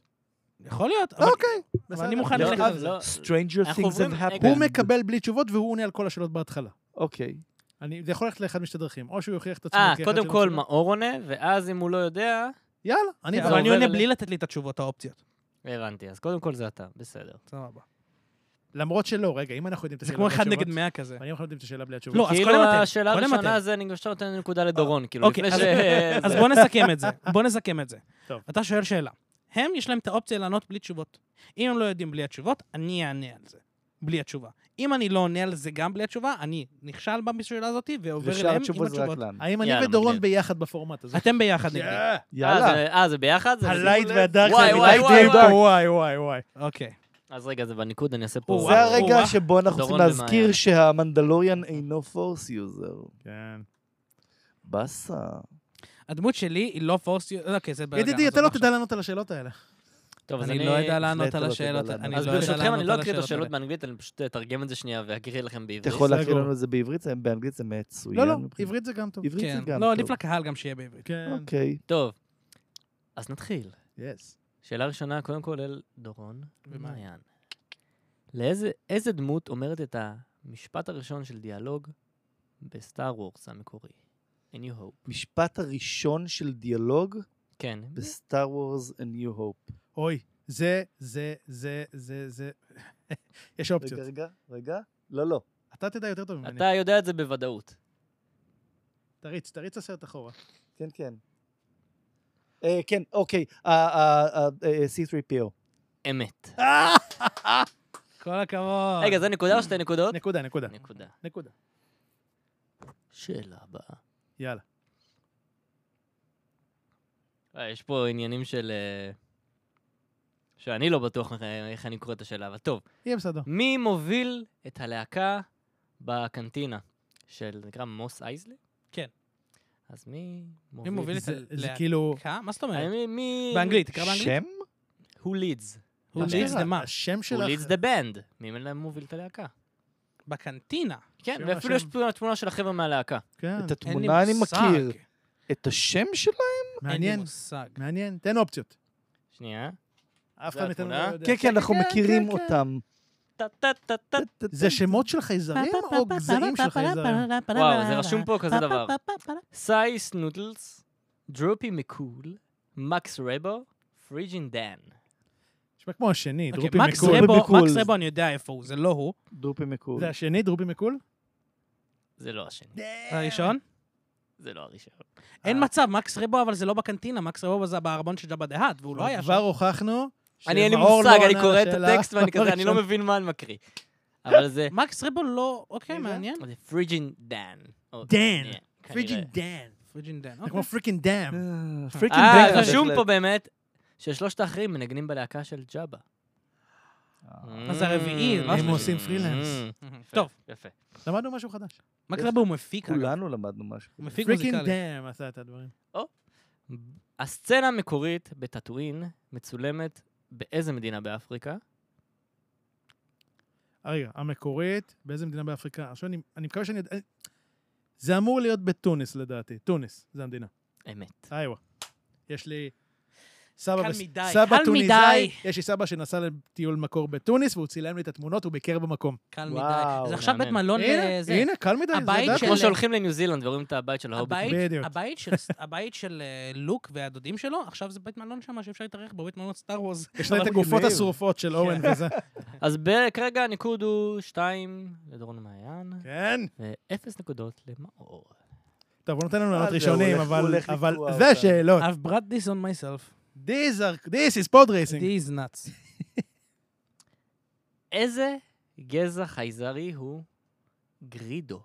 Speaker 1: יכול להיות, אבל,
Speaker 2: אוקיי,
Speaker 1: אבל אני
Speaker 2: בסדר.
Speaker 1: מוכן
Speaker 5: לא,
Speaker 1: ללכת
Speaker 5: אבל
Speaker 1: על זה.
Speaker 5: לא-
Speaker 3: Stranger
Speaker 5: אנחנו
Speaker 3: things
Speaker 5: עוברים-
Speaker 3: have
Speaker 5: רגע.
Speaker 3: happened.
Speaker 2: הוא מקבל בלי תשובות והוא עונה על כל השאלות בהתחלה.
Speaker 3: אוקיי.
Speaker 2: אני, זה יכול ללכת לאחד משתי דרכים, או שהוא יוכיח את עצמו.
Speaker 5: אה,
Speaker 3: כן,
Speaker 2: כאחד
Speaker 5: קודם
Speaker 2: של
Speaker 5: כל
Speaker 2: התשובות.
Speaker 5: מאור עונה, ואז אם הוא לא יודע...
Speaker 2: יאללה, אני
Speaker 1: כן,
Speaker 5: זה
Speaker 1: אבל אני
Speaker 5: עובר
Speaker 1: עונה
Speaker 5: אלי.
Speaker 1: בלי לתת לי את התשובות, האופציות.
Speaker 5: הבנתי, אז קודם כל זה אתה, בסדר.
Speaker 1: סבבה. כאילו,
Speaker 2: למרות שלא, רגע, אם אנחנו יודעים את
Speaker 1: זה
Speaker 2: השאלה
Speaker 1: כמו
Speaker 2: בלי
Speaker 1: אחד
Speaker 2: התשובות...
Speaker 1: נגד 100 כזה.
Speaker 2: ואני אנחנו יודעים את השאלה בלי התשובות.
Speaker 1: לא, אז
Speaker 5: כאילו
Speaker 1: קודם אתם,
Speaker 5: השאלה
Speaker 1: קודם
Speaker 5: הראשונה
Speaker 1: אתם.
Speaker 5: זה אני עכשיו נותן נקודה לדורון, כאילו,
Speaker 1: אוקיי,
Speaker 5: לפני ש...
Speaker 1: אז-
Speaker 5: זה-
Speaker 1: אז בוא נסכם את זה. בוא נסכם את זה.
Speaker 2: טוב.
Speaker 1: אתה שואל שאלה. הם, יש להם את האופציה לענות בלי תשובות. אם הם לא יודעים בלי התשובות, אני אענה על זה. בלי התשובה. אם אני לא עונה על זה גם בלי התשובה, אני נכשל בשאלה הזאת ועובר
Speaker 3: ושאר
Speaker 1: אליהם עם
Speaker 3: התשובות זה רק אוקיי.
Speaker 1: התשובות.
Speaker 3: לנו.
Speaker 2: האם אני
Speaker 5: יאללה,
Speaker 2: ודורון
Speaker 5: מגניב.
Speaker 2: ביחד בפורמט הזה?
Speaker 1: אתם ביחד נגדי.
Speaker 5: אה,
Speaker 3: יאללה.
Speaker 5: זה- אה, זה ביחד? זה-
Speaker 2: הלייט
Speaker 3: שימו לב.
Speaker 2: והדארק,
Speaker 5: וואי,
Speaker 2: אני
Speaker 5: וואי,
Speaker 2: ראיתי
Speaker 5: וואי,
Speaker 2: פה,
Speaker 5: וואי.
Speaker 2: וואי, וואי, וואי.
Speaker 1: אוקיי.
Speaker 5: אז רגע, זה בניקוד, אני אעשה פה...
Speaker 1: וואו.
Speaker 3: זה הרגע
Speaker 1: או-אה.
Speaker 3: שבו אנחנו צריכים
Speaker 5: דורון
Speaker 3: להזכיר
Speaker 5: ומעיין.
Speaker 3: שהמנדלוריאן אינו פורס יוזר.
Speaker 2: כן.
Speaker 3: באסה.
Speaker 1: הדמות שלי היא לא פורס... אוקיי, זה בלאגן.
Speaker 2: ידידי,
Speaker 1: עזוב
Speaker 2: אתה לא
Speaker 1: עכשיו.
Speaker 2: תדע לענות על השאלות האלה.
Speaker 5: טוב, אז
Speaker 1: אני לא יודע לענות
Speaker 3: אתה
Speaker 1: על
Speaker 3: לא
Speaker 1: השאלות.
Speaker 3: תדע
Speaker 1: אני
Speaker 3: לענות.
Speaker 5: אז
Speaker 1: לא יודע
Speaker 5: ברשותכם,
Speaker 1: לענות
Speaker 5: אני לא
Speaker 1: על
Speaker 5: אקריא את השאלות
Speaker 1: האלה.
Speaker 5: באנגלית, אני פשוט אה, אתרגם את זה שנייה ואקריא לכם בעברית.
Speaker 3: אתה יכול להקריא
Speaker 2: סגור.
Speaker 3: לנו את זה בעברית? זה באנגלית זה מצוין.
Speaker 2: לא, לא,
Speaker 3: מבחינת-
Speaker 2: עברית זה גם טוב.
Speaker 3: עברית זה
Speaker 1: כן.
Speaker 3: גם
Speaker 1: לא,
Speaker 3: טוב.
Speaker 1: עדיף לקהל גם שיהיה בעברית.
Speaker 2: כן,
Speaker 3: אוקיי.
Speaker 5: טוב, אז נתחיל.
Speaker 2: יס.
Speaker 5: שאלה ראשונה, קודם כל אל דורון
Speaker 1: ומעיין.
Speaker 5: ומעיין. לאיזה איזה דמות אומרת את המשפט הראשון של דיאלוג בסטאר וורס המקורי? A New Hope.
Speaker 3: משפט הראשון של דיאלוג
Speaker 5: כן.
Speaker 3: בסטאר וורס A New Hope.
Speaker 2: אוי, זה, זה, זה, זה, זה... יש
Speaker 3: רגע,
Speaker 2: אופציות.
Speaker 3: רגע, רגע. לא, לא.
Speaker 2: אתה תדע יותר טוב ממני.
Speaker 5: אתה יודע את זה בוודאות.
Speaker 2: תריץ, תריץ הסרט אחורה.
Speaker 3: כן, כן. אה, כן, אוקיי. אה, אה, אה, אה, C3PO.
Speaker 5: אמת.
Speaker 1: כל הכבוד.
Speaker 5: רגע, זה נקודה או שתי נקודות?
Speaker 2: נקודה, נקודה.
Speaker 5: אה, נקודה.
Speaker 2: נקודה.
Speaker 5: שאלה הבאה.
Speaker 2: יאללה.
Speaker 5: אה, יש פה עניינים של... אה, שאני לא בטוח איך- איך אני קורא את השאלה, אבל טוב.
Speaker 2: יהיה בסדר.
Speaker 5: מי מוביל את הלהקה בקנטינה? של, זה נקרא מוס אייזלי?
Speaker 1: כן.
Speaker 5: אז מי
Speaker 1: מי
Speaker 5: מוביל? אה,
Speaker 1: מוביל את
Speaker 2: זה זה
Speaker 1: הלהקה?
Speaker 2: כאילו...
Speaker 1: מה זאת אומרת?
Speaker 5: מי- מי...
Speaker 1: באנגלית, תקרא באנגלית.
Speaker 3: שם?
Speaker 5: Who leads?
Speaker 1: הוא
Speaker 2: אשכרה,
Speaker 1: leads the match.
Speaker 2: לא, השם
Speaker 5: Who
Speaker 2: שלך...
Speaker 5: leads the band? מי מ- מוביל את הלהקה?
Speaker 1: בקנטינה.
Speaker 5: כן,
Speaker 2: שם,
Speaker 5: ואפילו יש
Speaker 2: השם.
Speaker 5: פה תמונה של החבר'ה מהלהקה.
Speaker 2: כן,
Speaker 3: את
Speaker 1: אין לי
Speaker 3: התמונה אני
Speaker 1: מושג.
Speaker 3: מכיר. את השם שלה?
Speaker 1: אין לי
Speaker 2: מעניין,
Speaker 1: מושג.
Speaker 2: מעניין. תן אופציות.
Speaker 5: שנייה.
Speaker 2: אף
Speaker 5: זה
Speaker 2: אחד מאיתנו לא
Speaker 5: התמונה?
Speaker 2: יודע.
Speaker 3: כן, כן, אנחנו
Speaker 2: כן,
Speaker 3: מכירים
Speaker 2: כן, כן.
Speaker 3: אותם.
Speaker 5: טה-טה-טה-טה.
Speaker 2: זה שמות של חייזרים או גזעים של חייזרים?
Speaker 5: וואו, זה רשום פה כזה דבר. סייס נודלס, דרופי מקול, מקס רבו, פריג'ין דן.
Speaker 2: נשמע כמו השני,
Speaker 1: אוקיי,
Speaker 2: דרופי
Speaker 1: מקס
Speaker 2: מקול.
Speaker 1: רבו,
Speaker 3: בביקול.
Speaker 1: מקס רבו, אני יודע איפה הוא, זה לא הוא.
Speaker 3: דרופי מקול.
Speaker 2: זה השני, דרופי מקול?
Speaker 5: זה לא השני,
Speaker 2: אה,
Speaker 1: הראשון?
Speaker 5: זה לא הראשון.
Speaker 1: אין מצב, מקס רבו, אבל זה לא בקנטינה, מקס רבו זה בארבון של ג'אבה דהאט, והוא לא היה שם.
Speaker 2: כבר הוכחנו
Speaker 5: אני אין לי
Speaker 2: שמאור לא
Speaker 5: מושג, אני
Speaker 2: עונה
Speaker 5: קורא את
Speaker 2: לשאלה.
Speaker 5: הטקסט ואני כזה, אני לא מבין מה אני מקריא. אבל זה
Speaker 1: מקס רבו לא... אוקיי,
Speaker 3: מי זה?
Speaker 1: מעניין.
Speaker 5: זה פריג'ין דן. או-
Speaker 2: דן.
Speaker 5: כנראה.
Speaker 2: פריג'ין דן.
Speaker 1: פריג'ין דן,
Speaker 2: זה
Speaker 1: אוקיי.
Speaker 2: כמו פריקינג דאם.
Speaker 3: פריקינג
Speaker 5: אה, רשום פה באמת ששלושת האחרים מנגנים בלהקה של ג'אבה.
Speaker 1: אז זה הרביעי,
Speaker 5: Mm,
Speaker 1: מה
Speaker 2: הם
Speaker 1: שלי?
Speaker 2: עושים פרילנס.
Speaker 5: Mm,
Speaker 1: Mhm.
Speaker 5: יפה,
Speaker 1: טוב,
Speaker 5: יפה.
Speaker 2: למדנו משהו חדש.
Speaker 1: מקס רבו הוא מפיק, אגב.
Speaker 3: כולנו למדנו משהו.
Speaker 1: הוא מפיק
Speaker 2: פריקינג
Speaker 1: מוזיקלי.
Speaker 2: דאם עשה את הדברים.
Speaker 5: הסצנה המקורית בטאטואין מצולמת באיזה מדינה באפריקה?
Speaker 2: אה, רגע, המקורית, באיזה מדינה באפריקה? עכשיו אני אני מקווה שאני יודע... אה, זה אמור להיות בתוניס לדעתי. תוניס, זה המדינה.
Speaker 5: אמת.
Speaker 2: איווה. יש לי סבא,
Speaker 1: קל
Speaker 2: בס-
Speaker 1: מדי,
Speaker 2: סבא
Speaker 1: קל
Speaker 2: טוניסאי,
Speaker 1: מדי.
Speaker 2: יש לי סבא שנסע לטיול מקור בתוניס, והוא צילם לי את התמונות, הוא ביקר במקום.
Speaker 1: קל
Speaker 3: וואו,
Speaker 1: מדי. זה עכשיו אה, בית
Speaker 5: מהמם.
Speaker 1: מלון
Speaker 2: הנה,
Speaker 1: לזה.
Speaker 2: הנה, קל מדי, זה
Speaker 1: הבית
Speaker 2: ידעתי.
Speaker 1: של-
Speaker 5: כמו שהולכים לניו זילנד ורואים את הבית של ההוביט.
Speaker 1: הבית,
Speaker 2: בדיוק.
Speaker 1: הבית, של, הבית של אה, לוק והדודים שלו, עכשיו זה בית מלון שם שאפשר להתארח בו, בית מלון סטאר וורז.
Speaker 2: יש לה את הגופות השרופות של אורן
Speaker 3: כן.
Speaker 2: וזה.
Speaker 5: אז ב- כרגע הניקוד הוא 2 לדורון מעיין,
Speaker 2: כן.
Speaker 5: ו-0 נקודות למאור.
Speaker 2: טוב, הוא נותן לנו
Speaker 3: אה,
Speaker 2: לענות
Speaker 3: זה
Speaker 2: ראשונים,
Speaker 3: הולך-
Speaker 2: אבל-
Speaker 3: הולך
Speaker 2: אבל
Speaker 3: לקרוע
Speaker 2: זה
Speaker 3: אותנו.
Speaker 2: השאלות.
Speaker 1: I've brought this on myself.
Speaker 2: These are- This is pod racing.
Speaker 1: These nuts.
Speaker 5: איזה גזע חייזרי הוא גרידו?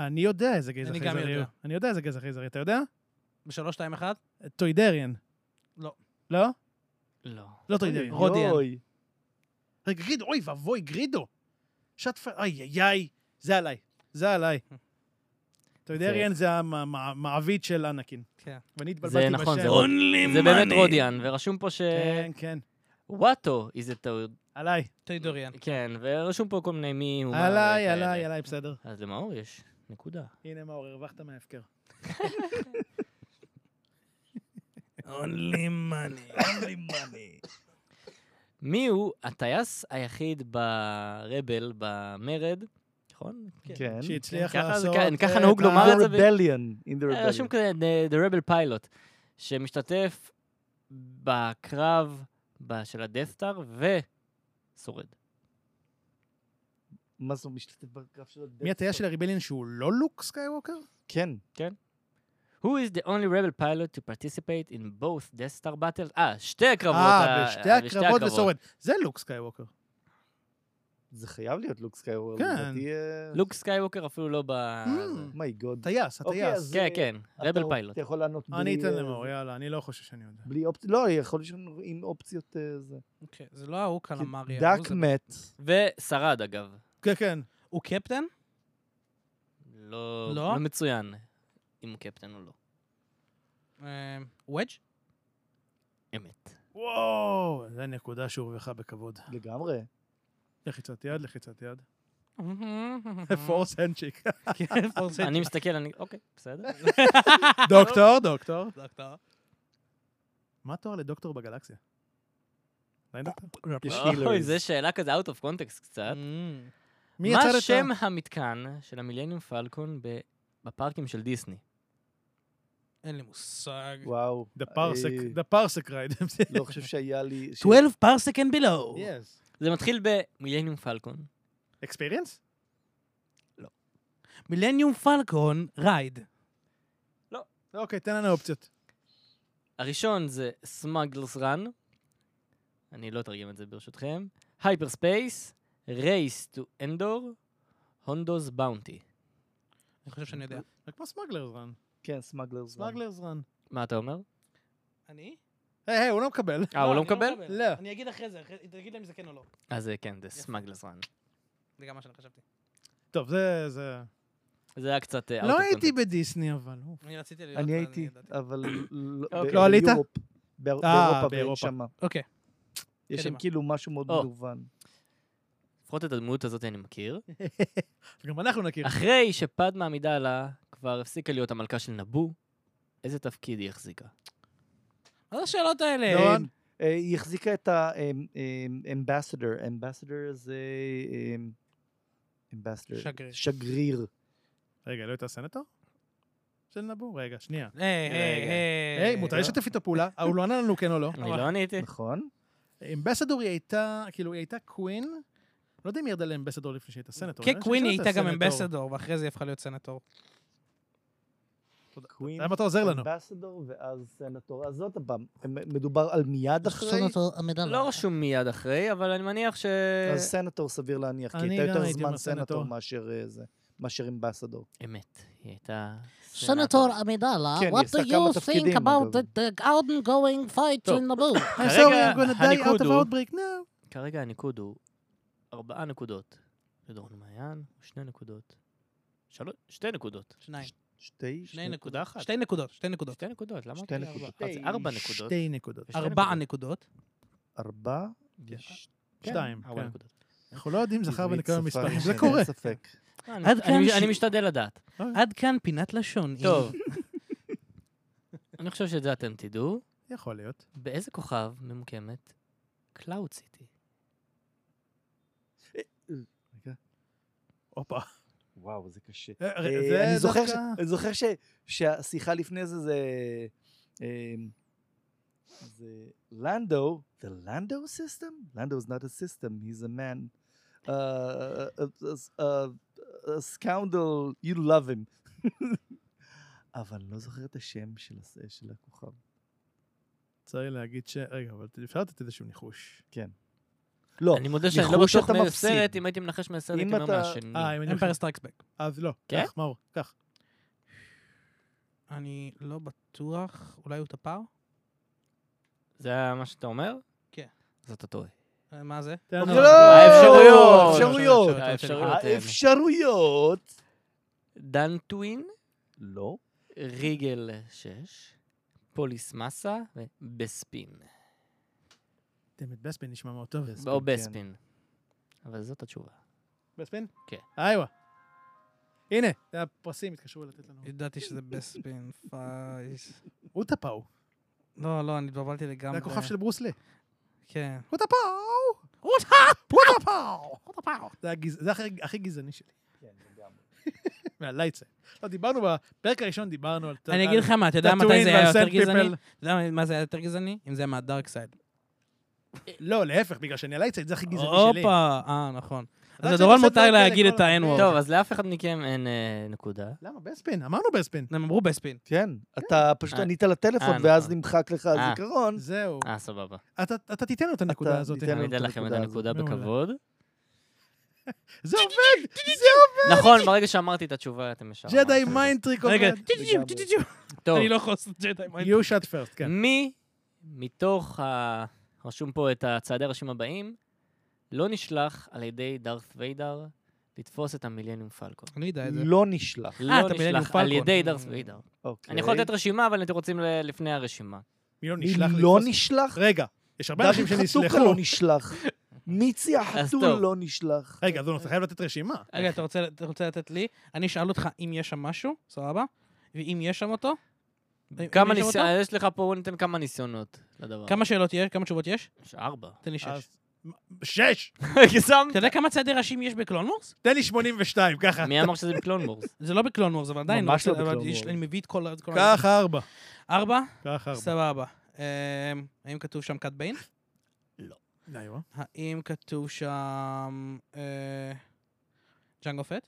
Speaker 2: אני יודע איזה גזע
Speaker 1: אני
Speaker 2: חייזרי.
Speaker 1: גם יודע.
Speaker 2: הוא. אני יודע איזה גזע חייזרי, אתה יודע?
Speaker 1: בשלוש, שתיים, אחד?
Speaker 2: טוידריאן.
Speaker 1: לא.
Speaker 2: לא?
Speaker 5: לא.
Speaker 2: לא טוידריאן.
Speaker 1: רודיאן.
Speaker 3: אוי,
Speaker 2: רגע, גרידו, אוי ואבוי, גרידו. שט פ... איי איי איי, זה עליי, זה עליי. טוידריאן זה המעביד של אנקין.
Speaker 1: כן.
Speaker 2: ואני התבלבלתי
Speaker 5: זה
Speaker 2: בשם.
Speaker 5: נכון, זה רוד- זה באמת רודיאן, ורשום פה ש...
Speaker 2: כן, כן,
Speaker 5: וואטו, איזה טעות.
Speaker 2: עליי.
Speaker 1: טיידוריאן.
Speaker 5: כן, ורשום פה כל מיני מי... הוא מה
Speaker 2: עליי,
Speaker 5: וכאלה.
Speaker 2: עליי, עליי, בסדר.
Speaker 5: אז למאור יש נקודה.
Speaker 2: הנה מאור, הרווחת מההפקר.
Speaker 1: Only money.
Speaker 5: מי הוא הטייס היחיד ברבל, במרד, נכון?
Speaker 3: כן.
Speaker 2: שהצליח
Speaker 5: ככה זה-
Speaker 2: לעשות...
Speaker 5: כן, ככה
Speaker 2: אה,
Speaker 5: נהוג
Speaker 2: את
Speaker 5: לומר
Speaker 2: ה-
Speaker 5: את זה ב- אה,
Speaker 3: רבליון. In the
Speaker 5: היה רשום
Speaker 3: rebellion.
Speaker 5: כזה, The- The Rebel Pilot, שמשתתף בקרב ב- של הדפטר ושורד.
Speaker 3: מה זה, הוא משתתף בקרב של הדרך?
Speaker 2: מי הטייס של הריבליאן שהוא לא לוק סקייווקר?
Speaker 3: כן.
Speaker 5: Who is the only rebel pilot to participate in both Death Star battles? אה, שתי הקרבות.
Speaker 2: אה,
Speaker 5: ה-
Speaker 2: בשתי
Speaker 5: ה-
Speaker 2: הקרבות ושורד. זה לוק סקייווקר.
Speaker 3: זה חייב להיות לוק אה, סקייוור.
Speaker 2: כן.
Speaker 5: לוק סקייווקר אפילו לא ב... זה.
Speaker 3: מייגוד.
Speaker 2: טייס,
Speaker 3: אוקיי,
Speaker 2: הטייס.
Speaker 3: אז-
Speaker 5: כן, כן, רבל פיילוט.
Speaker 3: Mm, אתה יכול לענות בלי...
Speaker 2: אני אתן
Speaker 3: אה,
Speaker 2: למאור, יאללה, אני לא חושב שאני יודע.
Speaker 3: בלי אופציות, לא, יכול להיות שם עם אופציות אה, זה.
Speaker 1: אוקיי, זה לא ההוא קלמרי. ההוא
Speaker 3: דאק
Speaker 1: זה-
Speaker 3: מת.
Speaker 5: ושרד, אגב.
Speaker 2: כן, כן.
Speaker 1: הוא קפטן?
Speaker 5: לא
Speaker 1: לא?
Speaker 5: לא מצוין אם הוא קפטן או לא.
Speaker 1: אה, וודג'?
Speaker 5: אמת.
Speaker 2: וואו, זו נקודה שהורווחה בכבוד.
Speaker 3: לגמרי.
Speaker 2: לחיצת יד, לחיצת יד. פורס הנצ'יק.
Speaker 1: כן, פורס
Speaker 5: אני מסתכל, אני... אוקיי, בסדר.
Speaker 2: דוקטור, דוקטור.
Speaker 1: דוקטור.
Speaker 2: מה התואר לדוקטור בגלקסיה? לא ידעת?
Speaker 3: יש
Speaker 5: אוי,
Speaker 3: healers.
Speaker 5: זו שאלה כזה out of context קצת.
Speaker 1: אמ,
Speaker 2: מי
Speaker 5: מה
Speaker 2: יצר את ה-
Speaker 5: שם המתקן של המילניום פלקון ב- בפארקים של דיסני?
Speaker 1: אין לי מושג.
Speaker 3: וואו.
Speaker 2: The Parsec,
Speaker 3: אה,
Speaker 2: the Parsec Ride.
Speaker 3: לא חושב שהיה לי...
Speaker 1: 12 פרסק and below.
Speaker 2: Yes.
Speaker 5: זה מתחיל במילניום פלקון.
Speaker 2: Experience?
Speaker 1: מילניום פלקון רייד.
Speaker 2: אוקיי, תן לנו אופציות.
Speaker 5: הראשון זה סמאגלס רן, אני לא אתרגם את זה ברשותכם, הייפר ספייס, רייס טו אנדור, הונדוס באונטי.
Speaker 1: אני חושב שאני יודע.
Speaker 2: זה כמו סמגלרס רן.
Speaker 3: כן, סמגלר זמן.
Speaker 2: סמגלרס רן.
Speaker 5: מה אתה אומר?
Speaker 1: אני?
Speaker 2: היי, היי, הוא לא מקבל.
Speaker 5: אה, הוא לא
Speaker 1: אני
Speaker 5: מקבל?
Speaker 2: לא.
Speaker 1: אני אגיד אחרי זה, אחרי- תגיד להם אם זה כן או לא.
Speaker 5: אז אה, כן, זה סמאגלס רן.
Speaker 1: זה גם מה שאני חשבתי.
Speaker 2: טוב, זה... זה...
Speaker 5: זה היה קצת... אה, out
Speaker 2: לא
Speaker 5: of
Speaker 2: הייתי
Speaker 5: context.
Speaker 2: בדיסני, אבל... אוף.
Speaker 1: אני רציתי להיות...
Speaker 3: אני
Speaker 1: אבל
Speaker 3: הייתי,
Speaker 1: ידעתי.
Speaker 3: אבל... לא-
Speaker 5: אוקיי.
Speaker 3: ב-
Speaker 2: לא עלית? אה,
Speaker 3: באירופ. באיר- באירופה, ואין
Speaker 2: באירופה.
Speaker 3: שמה.
Speaker 1: אוקיי.
Speaker 3: יש שם
Speaker 1: קדימה.
Speaker 3: כאילו משהו מאוד
Speaker 5: או.
Speaker 3: מגוון.
Speaker 5: לפחות את הדמות הזאת אני מכיר.
Speaker 2: גם אנחנו נכיר.
Speaker 5: אחרי שפדמה עמידלה כבר הפסיקה להיות המלכה של נבו, איזה תפקיד היא החזיקה?
Speaker 1: מה זה השאלות האלה?
Speaker 2: דורון?
Speaker 3: אה, היא החזיקה את אה, אמ, האמבסדר, אמבסדר זה... אמבסדר.
Speaker 1: שגריר.
Speaker 3: שגריר.
Speaker 2: רגע, לא הייתה סנטור? של נבו? רגע, שנייה.
Speaker 1: היי, היי,
Speaker 3: רגע.
Speaker 1: היי.
Speaker 2: היי, מותר לשתף איתו פעולה. אה, הוא לא ענה לנו כן או לא.
Speaker 5: אני לא עניתי.
Speaker 3: נכון?
Speaker 2: אמבסדור היא הייתה, כאילו, היא הייתה קווין. לא יודע אם היא ירדה לאמבסדור לפני שהייתה סנטור. אני חושב
Speaker 1: כקווין היא
Speaker 2: שהייתה
Speaker 1: הייתה גם
Speaker 2: סנטור.
Speaker 1: אמבסדור, ואחרי זה היא הפכה להיות סנטור.
Speaker 2: אה,
Speaker 3: קווין,
Speaker 2: למה אתה עוזר לנו?
Speaker 3: אמבסדור ואז סנטור. אז עוד פעם, מ- מדובר על מיד אחרי,
Speaker 5: לא רשום מיד אחרי, אבל אני מניח ש...
Speaker 3: אז סנטור סביר להניח, כי
Speaker 2: אני
Speaker 3: הייתה
Speaker 2: גם
Speaker 3: יותר
Speaker 2: הייתי
Speaker 3: זמן
Speaker 2: אומר
Speaker 3: סנטור
Speaker 2: סנטור.
Speaker 3: מאשר אה, זה, מאשר אמבסדור.
Speaker 5: אמת, היא הייתה...
Speaker 6: Senator
Speaker 5: סנטור.
Speaker 6: Amidala,
Speaker 3: כן,
Speaker 6: אה, what
Speaker 3: יש לה
Speaker 6: do
Speaker 3: כמה
Speaker 6: you think
Speaker 3: תפקידים,
Speaker 6: about
Speaker 3: אגב.
Speaker 6: the, the ongoing fight
Speaker 5: טוב.
Speaker 6: in Naboo?
Speaker 2: I'm sorry, I'm gonna
Speaker 5: כרגע
Speaker 2: die out
Speaker 5: הניקוד
Speaker 2: of
Speaker 5: הוא-
Speaker 2: outbreak now.
Speaker 5: כרגע הניקוד הוא ארבעה נקודות לדורון מעיין, שני נקודות. שלוש, שתי נקודות.
Speaker 1: שניים.
Speaker 3: שתי...
Speaker 1: שני נקודות.
Speaker 5: נקודה אחת.
Speaker 1: שתי נקודות, שתי נקודות.
Speaker 5: שתי נקודות, למה?
Speaker 3: שתי
Speaker 5: אמרתי
Speaker 3: נקודות.
Speaker 5: ארבע? אז ארבע נקודות.
Speaker 2: שתי נקודות.
Speaker 5: ושתי
Speaker 1: ארבע
Speaker 5: נקודות.
Speaker 1: נקודות.
Speaker 3: ארבע?
Speaker 5: כן.
Speaker 2: אה.
Speaker 3: ש-
Speaker 2: שתיים,
Speaker 5: ארבע
Speaker 2: כן.
Speaker 5: נקודות.
Speaker 2: אנחנו לא יודעים זכר
Speaker 3: עברית
Speaker 2: ונקרא
Speaker 3: שפה
Speaker 2: מספרים, זה
Speaker 3: ראשונה,
Speaker 2: קורה.
Speaker 3: אין ספק.
Speaker 5: אני-
Speaker 1: עד
Speaker 5: אני-
Speaker 1: כאן ש-
Speaker 5: אני משתדל לדעת.
Speaker 1: עד כאן פינת לשון.
Speaker 5: טוב. אני חושב שאת זה אתם תדעו.
Speaker 2: יכול להיות.
Speaker 5: באיזה כוכב ממוקמת קלאוד סיטי?
Speaker 2: הופה.
Speaker 3: וואו, זה קשה.
Speaker 2: אה,
Speaker 3: אה,
Speaker 2: ר- זה
Speaker 3: אני זוכר, ש...
Speaker 2: דווקא-
Speaker 3: אני זוכר ש... שהשיחה לפני זה זה... אה, זה לנדו, the Lando system? Lando is not a system, he's a man. Uh, a, a, a, a scoundrel, you love him. אבל אני לא זוכר את השם של, הס- של הכוכב.
Speaker 2: צר לי להגיד ש... רגע, אבל אפשר לתת איזשהו ניחוש.
Speaker 3: לא,
Speaker 5: אני מודה שאני לא
Speaker 3: ניחוש
Speaker 5: בטוח
Speaker 3: אתה
Speaker 5: מאיזה
Speaker 3: מפסיד.
Speaker 5: סרט, אם הייתי מנחש מאיזה סרט,
Speaker 3: אם
Speaker 5: הייתי אומר
Speaker 3: אתה-
Speaker 5: מהשני.
Speaker 2: אה, אם אני...
Speaker 1: אמפר סטרייקס בק.
Speaker 2: אז לא.
Speaker 5: כן?
Speaker 2: קח, מאור, קח.
Speaker 1: אני לא בטוח, אולי הוא טפר?
Speaker 5: זה היה מה שאתה אומר?
Speaker 1: כן.
Speaker 5: אז אתה טועה.
Speaker 1: אה, מה זה?
Speaker 2: תן לנו. אה,
Speaker 5: אוקיי,
Speaker 3: לא!
Speaker 5: האפשרויות.
Speaker 3: האפשרויות!
Speaker 5: האפשרויות.
Speaker 3: האפשרויות!
Speaker 5: דן טווין,
Speaker 3: לא.
Speaker 5: ריגל 6, פוליס מסה ובספין.
Speaker 2: דמת בספין נשמע מאוד טוב.
Speaker 5: או
Speaker 3: כן.
Speaker 5: בספין. אבל זאת התשובה.
Speaker 2: בספין?
Speaker 5: כן.
Speaker 2: איווה. הנה, זה הפרסים התקשרו לתת לנו.
Speaker 1: ידעתי שזה בספין פייס.
Speaker 2: הוא טפאו.
Speaker 1: לא, לא, אני התבלבלתי
Speaker 2: זה
Speaker 1: לגמרי.
Speaker 2: הכוכב של ברוס לי.
Speaker 1: כן.
Speaker 2: הוא טפאו! הוא טפאו! הוא טפאו! הוא טפאו! זה הגז- זה הכי- הכי גזעני שלי. מהלייצה. לא, דיברנו בפרק הראשון, דיברנו על...
Speaker 1: אני אגיד לך מה, אתה יודע
Speaker 2: Tatooine
Speaker 1: מתי זה היה
Speaker 2: ועל
Speaker 1: יותר
Speaker 2: Sand
Speaker 1: גזעני?
Speaker 2: People.
Speaker 1: אתה יודע מה זה היה יותר גזעני? אם זה היה מהדארק סייד.
Speaker 2: לא, להפך, בגלל שאני הלייצה, זה הכי גזעני שלי.
Speaker 1: הופה! אה, נכון.
Speaker 2: יודעת
Speaker 1: אז לדורון
Speaker 2: שאני
Speaker 1: מותר
Speaker 2: עושה את זה
Speaker 1: להגיד
Speaker 2: לכל
Speaker 1: את ה-N-word.
Speaker 3: אוקיי.
Speaker 5: טוב, אז לאף אחד מכם אין אה, נקודה.
Speaker 2: למה? בספין, אמרנו בספין.
Speaker 1: הם אמרו בספין.
Speaker 3: כן, אתה פשוט
Speaker 5: אה,
Speaker 3: ענית לטלפון
Speaker 5: אה,
Speaker 3: ואז
Speaker 5: נכון.
Speaker 3: נמחק לך
Speaker 5: אה.
Speaker 3: הזיכרון.
Speaker 2: זהו.
Speaker 5: אה, סבבה.
Speaker 2: אתה אתה תיתן לו את הנקודה הזאת.
Speaker 3: תיתן לו
Speaker 5: אני אתן
Speaker 3: את
Speaker 5: לכם את
Speaker 3: הנקודה הזאת.
Speaker 5: הנקודה
Speaker 2: מעולה.
Speaker 5: בכבוד.
Speaker 2: זה עובד!
Speaker 5: נכון, ברגע שאמרתי את התשובה, אתם ישר...
Speaker 2: לא, ג'די
Speaker 5: אמרתם.
Speaker 2: מיינטריק עובד.
Speaker 1: רגע,
Speaker 3: לגמרי.
Speaker 5: טוב,
Speaker 1: אני לא יכול לעשות ג'די מיינד.
Speaker 2: You shot first, כן.
Speaker 5: מי מתוך ה... רשום פה את הצעדי הראשים הבאים, לא נשלח על ידי דארת ויידר לתפוס את המילניום פלקון.
Speaker 1: אני יודע את זה.
Speaker 3: לא נשלח.
Speaker 2: אה,
Speaker 5: לא
Speaker 1: את המילניום
Speaker 5: נשלח על
Speaker 1: פלקון.
Speaker 5: ידי דארת ויידר.
Speaker 3: אוקיי.
Speaker 5: אני יכול לתת רשימה, אבל אתם רוצים ל- לפני הרשימה.
Speaker 2: מי לא
Speaker 3: מי
Speaker 2: נשלח?
Speaker 3: לא
Speaker 2: לתפוס?
Speaker 3: נשלח?
Speaker 2: רגע, יש הרבה
Speaker 3: דוד
Speaker 2: אנשים
Speaker 3: חתוקה לא
Speaker 2: שנסלחו.
Speaker 3: נשלח. מיצי החתול
Speaker 5: טוב.
Speaker 3: לא נשלח.
Speaker 2: רגע, אז הוא אתה חייב לתת רשימה.
Speaker 1: רגע, אתה רוצה- אתה רוצה לתת לי? אני אשאל אותך אם יש שם משהו, סבבה? ואם יש שם אותו? אם
Speaker 5: כמה
Speaker 1: יש שם
Speaker 5: ניסיונות,
Speaker 1: אותו?
Speaker 5: יש לך פה, בוא ניתן כמה ניסיונות לדבר.
Speaker 1: כמה שאלות יש? כמה תשובות יש?
Speaker 5: יש ארבע.
Speaker 1: תן לי שש.
Speaker 2: אז- שש!
Speaker 5: גזמת.
Speaker 1: אתה יודע כמה צעדי ראשים יש בקלון וורס?
Speaker 2: תן לי 82, ככה.
Speaker 5: מי אמר שזה בקלון וורס?
Speaker 1: זה לא בקלון וורס, אבל עדיין...
Speaker 3: ממש לא
Speaker 1: אבל
Speaker 3: בקלון
Speaker 1: יש-
Speaker 3: וורס.
Speaker 1: אני מביא את כל ה... כל ה-
Speaker 2: ככה ארבע.
Speaker 1: ארבע?
Speaker 2: ככה ארבע.
Speaker 1: סבבה. אמ, האם כתוב שם כת ביין?
Speaker 2: די, וואו.
Speaker 1: האם כתוב שם... אה, ג'אנגו פט?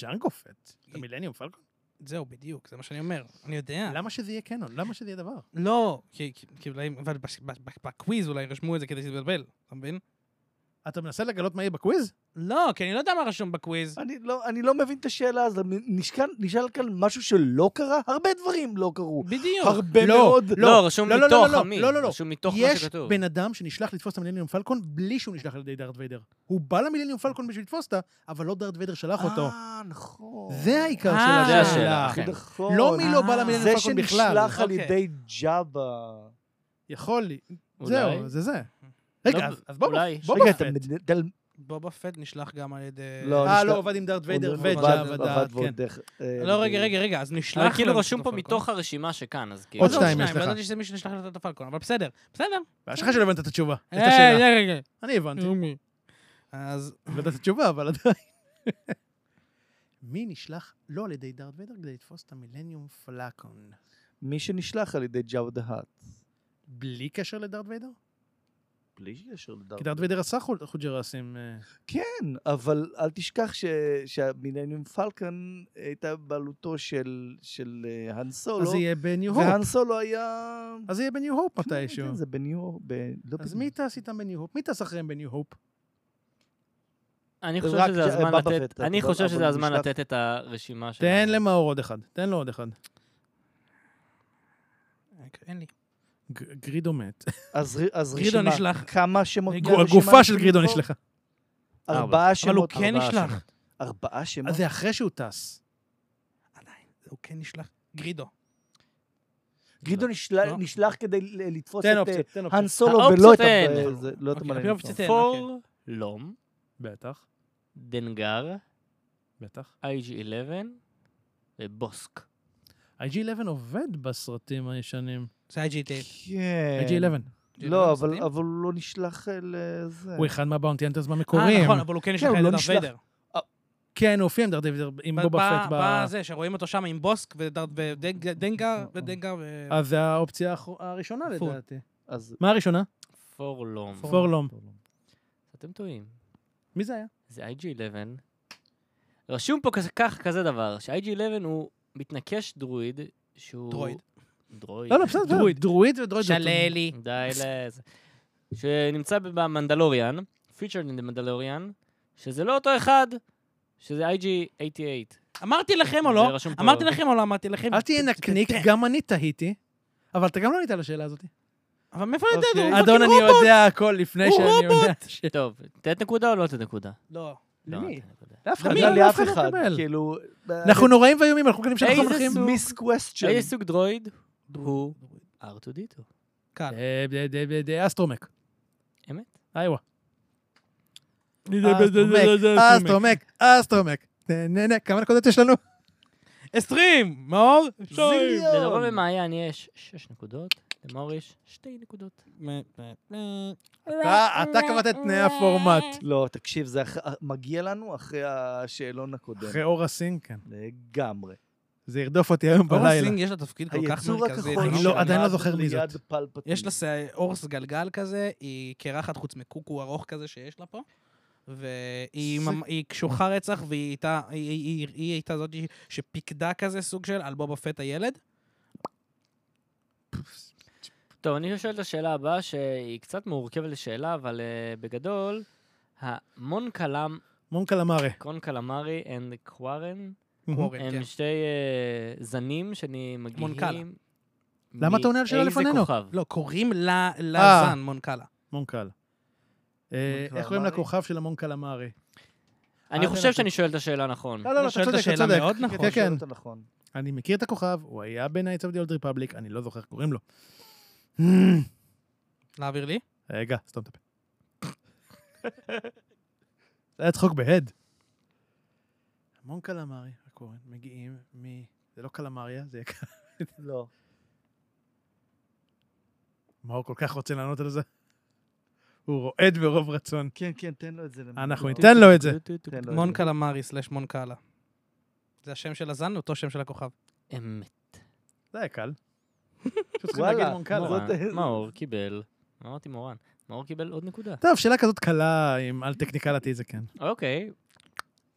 Speaker 2: ג'אנגו פט. אתה מילניום פלקון?
Speaker 1: זהו, בדיוק, זה מה שאני אומר. אני יודע.
Speaker 2: למה שזה יהיה קנון? למה שזה יהיה דבר?
Speaker 1: לא, כי כי- כי אולי... אבל בש- בש- בש- בקוויז אולי רשמו את זה כדי שתתבלבל, אתה מבין?
Speaker 2: אתה מנסה לגלות מה יהיה בקוויז?
Speaker 1: לא, כי אני לא יודע מה רשום בקוויז.
Speaker 3: אני לא, אני לא מבין את השאלה הזאת. נשכן- נשאל כאן משהו שלא קרה? הרבה דברים לא קרו.
Speaker 1: בדיוק.
Speaker 3: הרבה
Speaker 2: לא,
Speaker 3: מאוד.
Speaker 5: לא, רשום
Speaker 2: לא, לא, לא,
Speaker 5: מתוך
Speaker 2: לא,
Speaker 5: עמי.
Speaker 2: לא, לא, לא.
Speaker 5: רשום מתוך מה
Speaker 2: יש
Speaker 5: שכתוב.
Speaker 2: בן אדם שנשלח לתפוס את המילניום פלקון בלי שהוא נשלח על ידי דארט ויידר. הוא בא למילניום פלקון בשביל לתפוס אותה, אבל לא דארט ויידר שלח אותו.
Speaker 3: אה, נכון.
Speaker 2: זה העיקר
Speaker 1: אה,
Speaker 2: של
Speaker 1: זה
Speaker 5: השאלה,
Speaker 2: השאלה.
Speaker 5: אכן.
Speaker 3: נכון.
Speaker 2: לא מי לא
Speaker 1: אה.
Speaker 2: בא למילניום
Speaker 3: זה
Speaker 2: פלקון בכלל.
Speaker 3: שנשלח על
Speaker 1: אוקיי.
Speaker 3: ידי ג'אבה.
Speaker 2: יכול לי.
Speaker 5: אולי.
Speaker 2: זהו, זה זה. רגע,
Speaker 5: לא,
Speaker 2: אז- אז בוא
Speaker 5: אולי.
Speaker 2: בוא
Speaker 3: רגע, אתה
Speaker 2: בפט.
Speaker 3: מדל...
Speaker 1: בובה פט נג'לח גם על ידי...
Speaker 3: לא,
Speaker 2: אה,
Speaker 3: נשלח-
Speaker 2: לא, עבד עם דארט ויידר
Speaker 3: הוא
Speaker 2: וג'אב הדארט,
Speaker 3: עבד ועוד
Speaker 2: כן.
Speaker 3: דרך- אה,
Speaker 1: לא, רגע, רגע, רגע, אז נשלח...
Speaker 5: אבל כאילו
Speaker 1: לנו
Speaker 5: רשום פה
Speaker 1: את הפלקון.
Speaker 5: מתוך הרשימה שכאן, אז כאילו.
Speaker 2: עוד
Speaker 1: לא,
Speaker 2: שתיים יש
Speaker 1: אבל
Speaker 2: לך.
Speaker 1: ידעתי שזה מישהו שנשלח לתת את הפלקון, אבל בסדר, בסדר.
Speaker 2: ואשכרה שלא הבנת את התשובה. את
Speaker 1: אה,
Speaker 2: השאלה.
Speaker 1: רגע, רגע.
Speaker 2: אני הבנתי.
Speaker 1: אז
Speaker 2: הבנת את התשובה, אבל עדיין. מי נשלח לא על ידי דארט ויידר כדי לתפוס את המילניום פלקון?
Speaker 3: מי שנשלח על ידי ג'אבה דהאט.
Speaker 2: בלי קשר לדארט ויידר?
Speaker 3: בלי קשר לדארט.
Speaker 2: כי דארט ויידר עשה חול- חוג'רסים. אה,
Speaker 3: כן, אבל אל תשכח ש... שהמילניום פלקון הייתה בעלותו של, של אה, האן סולו,
Speaker 2: אז זה יהיה בניו הופ.
Speaker 3: והאן סולו היה...
Speaker 2: אז זה יהיה בניו הופ מתישהו.
Speaker 3: כן, זה בניו... ב... לא
Speaker 2: אז
Speaker 3: בניו-
Speaker 2: מי טס איתם בניו הופ? מי טס אחריהם בניו הופ?
Speaker 5: אני חושב
Speaker 3: רק
Speaker 5: שזה
Speaker 3: ש-
Speaker 5: הזמן
Speaker 3: בבא
Speaker 5: לתת,
Speaker 3: פט,
Speaker 5: אני
Speaker 3: אבל-
Speaker 5: חושב
Speaker 3: אבל
Speaker 5: שזה הזמן
Speaker 3: נשלח-
Speaker 5: לתת את הרשימה שלנו.
Speaker 2: תן למאור עוד אחד. תן לו עוד אחד.
Speaker 1: אין לי.
Speaker 2: ג- גרידו מת.
Speaker 3: אז, ר- אז
Speaker 1: גרידו
Speaker 3: רשימה,
Speaker 1: נשלח.
Speaker 3: כמה שמות
Speaker 1: גו-
Speaker 3: מהרשימה
Speaker 2: הגופה של
Speaker 3: נשלחו?
Speaker 2: גרידו נשלחה.
Speaker 3: ארבעה
Speaker 1: אבל הוא
Speaker 3: שמות.
Speaker 1: כן
Speaker 3: ארבעה
Speaker 1: נשלח.
Speaker 3: שמות. ארבעה שמות?
Speaker 2: אז זה אחרי שהוא טס.
Speaker 1: עדיין, הוא כן נשלח. גרידו.
Speaker 3: גרידו נשלח,
Speaker 1: לא.
Speaker 3: נשלח כדי ל- לתפוס
Speaker 2: תן
Speaker 3: את אה,
Speaker 2: אופציות, תן אופציות.
Speaker 3: האן סולו
Speaker 5: האופציות
Speaker 3: ולא את ה-
Speaker 5: אין.
Speaker 3: זה- לא את
Speaker 1: אוקיי,
Speaker 3: המלניום
Speaker 1: האופציות
Speaker 3: פלקון.
Speaker 1: אין.
Speaker 5: פור, לום,
Speaker 2: בטח,
Speaker 5: דנגר,
Speaker 2: בטח.
Speaker 5: IG-11 ובוסק.
Speaker 2: IG-11 עובד בסרטים הישנים.
Speaker 1: זה IG-9.
Speaker 3: כן.
Speaker 2: IG-11.
Speaker 3: לא, אבל אבל הוא לא נשלח אה, לזה.
Speaker 2: אוקיי, הוא אחד מהבאונטי אנטרס
Speaker 1: אה,
Speaker 2: במקורים.
Speaker 1: נכון, אבל הוא כן נשלח
Speaker 3: הוא
Speaker 1: על
Speaker 3: לא
Speaker 1: ידי דארט
Speaker 3: נשלח.
Speaker 1: ויידר.
Speaker 2: כן, הוא הופיע עם דארט ויידר, עם
Speaker 1: ב-
Speaker 2: בובה
Speaker 1: ב-
Speaker 2: פט. ב-
Speaker 1: בזה, שרואים אותו שם עם בוסק ודארט ודנגה ודנגה ו...
Speaker 2: אז זה האופציה האחר- הראשונה
Speaker 1: פור.
Speaker 2: לדעתי.
Speaker 3: אז...
Speaker 2: מה הראשונה?
Speaker 5: פור לום.
Speaker 2: פורלום.
Speaker 5: אתם טועים.
Speaker 2: מי זה היה?
Speaker 5: זה IG-11. רשום פה כזה- כך כזה דבר, ש-IG-11 הוא מתנקש דרואיד, שהוא...
Speaker 1: דרואיד.
Speaker 5: דרואיד.
Speaker 2: לא, לא, בסדר, בסדר. דרואיד ודרואיד. זה אותו-
Speaker 1: שללי.
Speaker 5: די לזה. שנמצא ב- במנדלוריאן, פיצ'רד אין במנדלוריאן, שזה לא אותו אחד, שזה IG-88.
Speaker 1: אמרתי לכם או
Speaker 5: זה
Speaker 1: לא?
Speaker 5: רשום פה.
Speaker 1: אמרתי לכם או לא אמרתי לכם?
Speaker 2: אל תהיה נקניק, גם אני תהיתי, אבל אתה גם לא ענית על השאלה הזאת.
Speaker 1: אבל מאיפה אני יודע?
Speaker 3: אוקיי.
Speaker 1: הוא
Speaker 2: אדון,
Speaker 1: פאקינג
Speaker 2: אני
Speaker 1: רובוט.
Speaker 2: יודע הכל לפני
Speaker 1: הוא
Speaker 2: שאני יודע. ש-
Speaker 5: טוב, תת נקודה או לא תת נקודה?
Speaker 1: לא.
Speaker 5: לא,
Speaker 3: למי?
Speaker 5: תת נקודה.
Speaker 2: לאף אחד
Speaker 3: לא,
Speaker 2: לא- נכון,
Speaker 3: לאף
Speaker 2: לאף אחד לא
Speaker 3: אחד,
Speaker 2: יקבל.
Speaker 3: כאילו...
Speaker 2: אנחנו נוראים ואיומים, אנחנו כאלה שאנחנו
Speaker 5: איזה
Speaker 2: הולכים...
Speaker 5: סוג?
Speaker 3: מיס קווסטשן.
Speaker 5: איזה סוג דרואיד? הוא R2D2.
Speaker 1: קל.
Speaker 2: אה, ב- ב- ב- ב- אסטרומק.
Speaker 5: אמת?
Speaker 2: איווה.
Speaker 1: אה,
Speaker 2: אה, אסטרומק, אסטרומק. אה, נה, נה, נה, כמה נקודות יש לנו?
Speaker 1: 20! מאור?
Speaker 3: זיליון.
Speaker 5: לדרום למעיין יש שש נקודות, למאור יש שתי נקודות.
Speaker 2: אתה אתה קבעת את תנאי הפורמט.
Speaker 3: לא, תקשיב, זה אח- מגיע לנו אחרי השאלון הקודם.
Speaker 2: אחרי אורה סינג, כן.
Speaker 3: לגמרי.
Speaker 2: זה ירדוף אותי היום
Speaker 1: אורס
Speaker 2: בלילה.
Speaker 1: סינג לא, יש לה תפקיד כל כך
Speaker 3: היצור
Speaker 1: מרכזי.
Speaker 3: הכחול.
Speaker 1: זה
Speaker 2: אני
Speaker 1: לא
Speaker 2: לא-
Speaker 1: משנה.
Speaker 2: עדיין לא
Speaker 3: שעמד
Speaker 2: זוכר מי זאת.
Speaker 3: ליד פלפטין.
Speaker 1: יש לה שיער- אורס גלגל כזה, היא קרחת חוץ מקוקו ארוך כזה שיש לה פה. והיא
Speaker 2: זה-
Speaker 1: ממ- היא קשוחה רצח, והיא הייתה- היא- היא- היא- היא הייתה זאת שפיקדה כזה סוג של על בובה פט הילד.
Speaker 5: טוב, אני שואל את השאלה הבאה, שהיא קצת מורכבת לשאלה, אבל אה, בגדול, המון קלאם,
Speaker 2: מון קלמרי.
Speaker 5: קון קלמרי אנד קווארן,
Speaker 1: וורן, כן.
Speaker 5: הם שתי אה, זנים שמגיעים...
Speaker 1: מונקלה.
Speaker 2: למה אתה עונה על שאלה לפנינו?
Speaker 5: מאיזה כוכב?
Speaker 1: לא, קוראים ל-
Speaker 2: אה.
Speaker 1: לזן מונקלה.
Speaker 2: מון קל. אה,
Speaker 3: מון
Speaker 2: איך קוראים
Speaker 3: קלמרי?
Speaker 2: לכוכב של המון קלמרי?
Speaker 5: אני
Speaker 2: אה,
Speaker 5: חושב
Speaker 2: הבנתי.
Speaker 5: שאני שואל את השאלה נכון.
Speaker 2: לא, לא, לא, אתה
Speaker 1: שואל את
Speaker 2: צודק, אתה
Speaker 1: השאלה
Speaker 2: צודק.
Speaker 1: מאוד
Speaker 2: כן,
Speaker 1: נכון.
Speaker 2: כן, כן.
Speaker 3: שאלת נכון.
Speaker 2: אני מכיר את הכוכב, הוא היה ב-Nights of the Old Republic, אני לא זוכר איך קוראים לו. כן.
Speaker 1: להעביר לי?
Speaker 2: רגע, סתום את הפה. זה היה צחוק בהד. המון קלמרי, הקורן, מגיעים מ... זה לא קלמריה, זה יהיה ק-
Speaker 3: לא.
Speaker 2: מאור כל כך רוצה לענות על זה. הוא רועד ברוב רצון.
Speaker 3: כן, כן, תן לו את זה. למי.
Speaker 2: אנחנו
Speaker 3: לא.
Speaker 2: ניתן לו את זה.
Speaker 3: תן
Speaker 2: לא
Speaker 3: לו את
Speaker 1: מון
Speaker 3: זה.
Speaker 1: קלמרי סלש מון קאלה. זה השם של הזן, אותו שם של הכוכב.
Speaker 5: אמת.
Speaker 2: זה היה קל. פשוט צריכים
Speaker 3: וואלה,
Speaker 2: להגיד מון קלמרי.
Speaker 5: מורן,
Speaker 3: זאת-
Speaker 5: מאור קיבל, אמרתי מורן, מאור קיבל עוד נקודה.
Speaker 2: טוב, שאלה כזאת קלה, עם על טכניקלתי זה כן.
Speaker 5: אוקיי.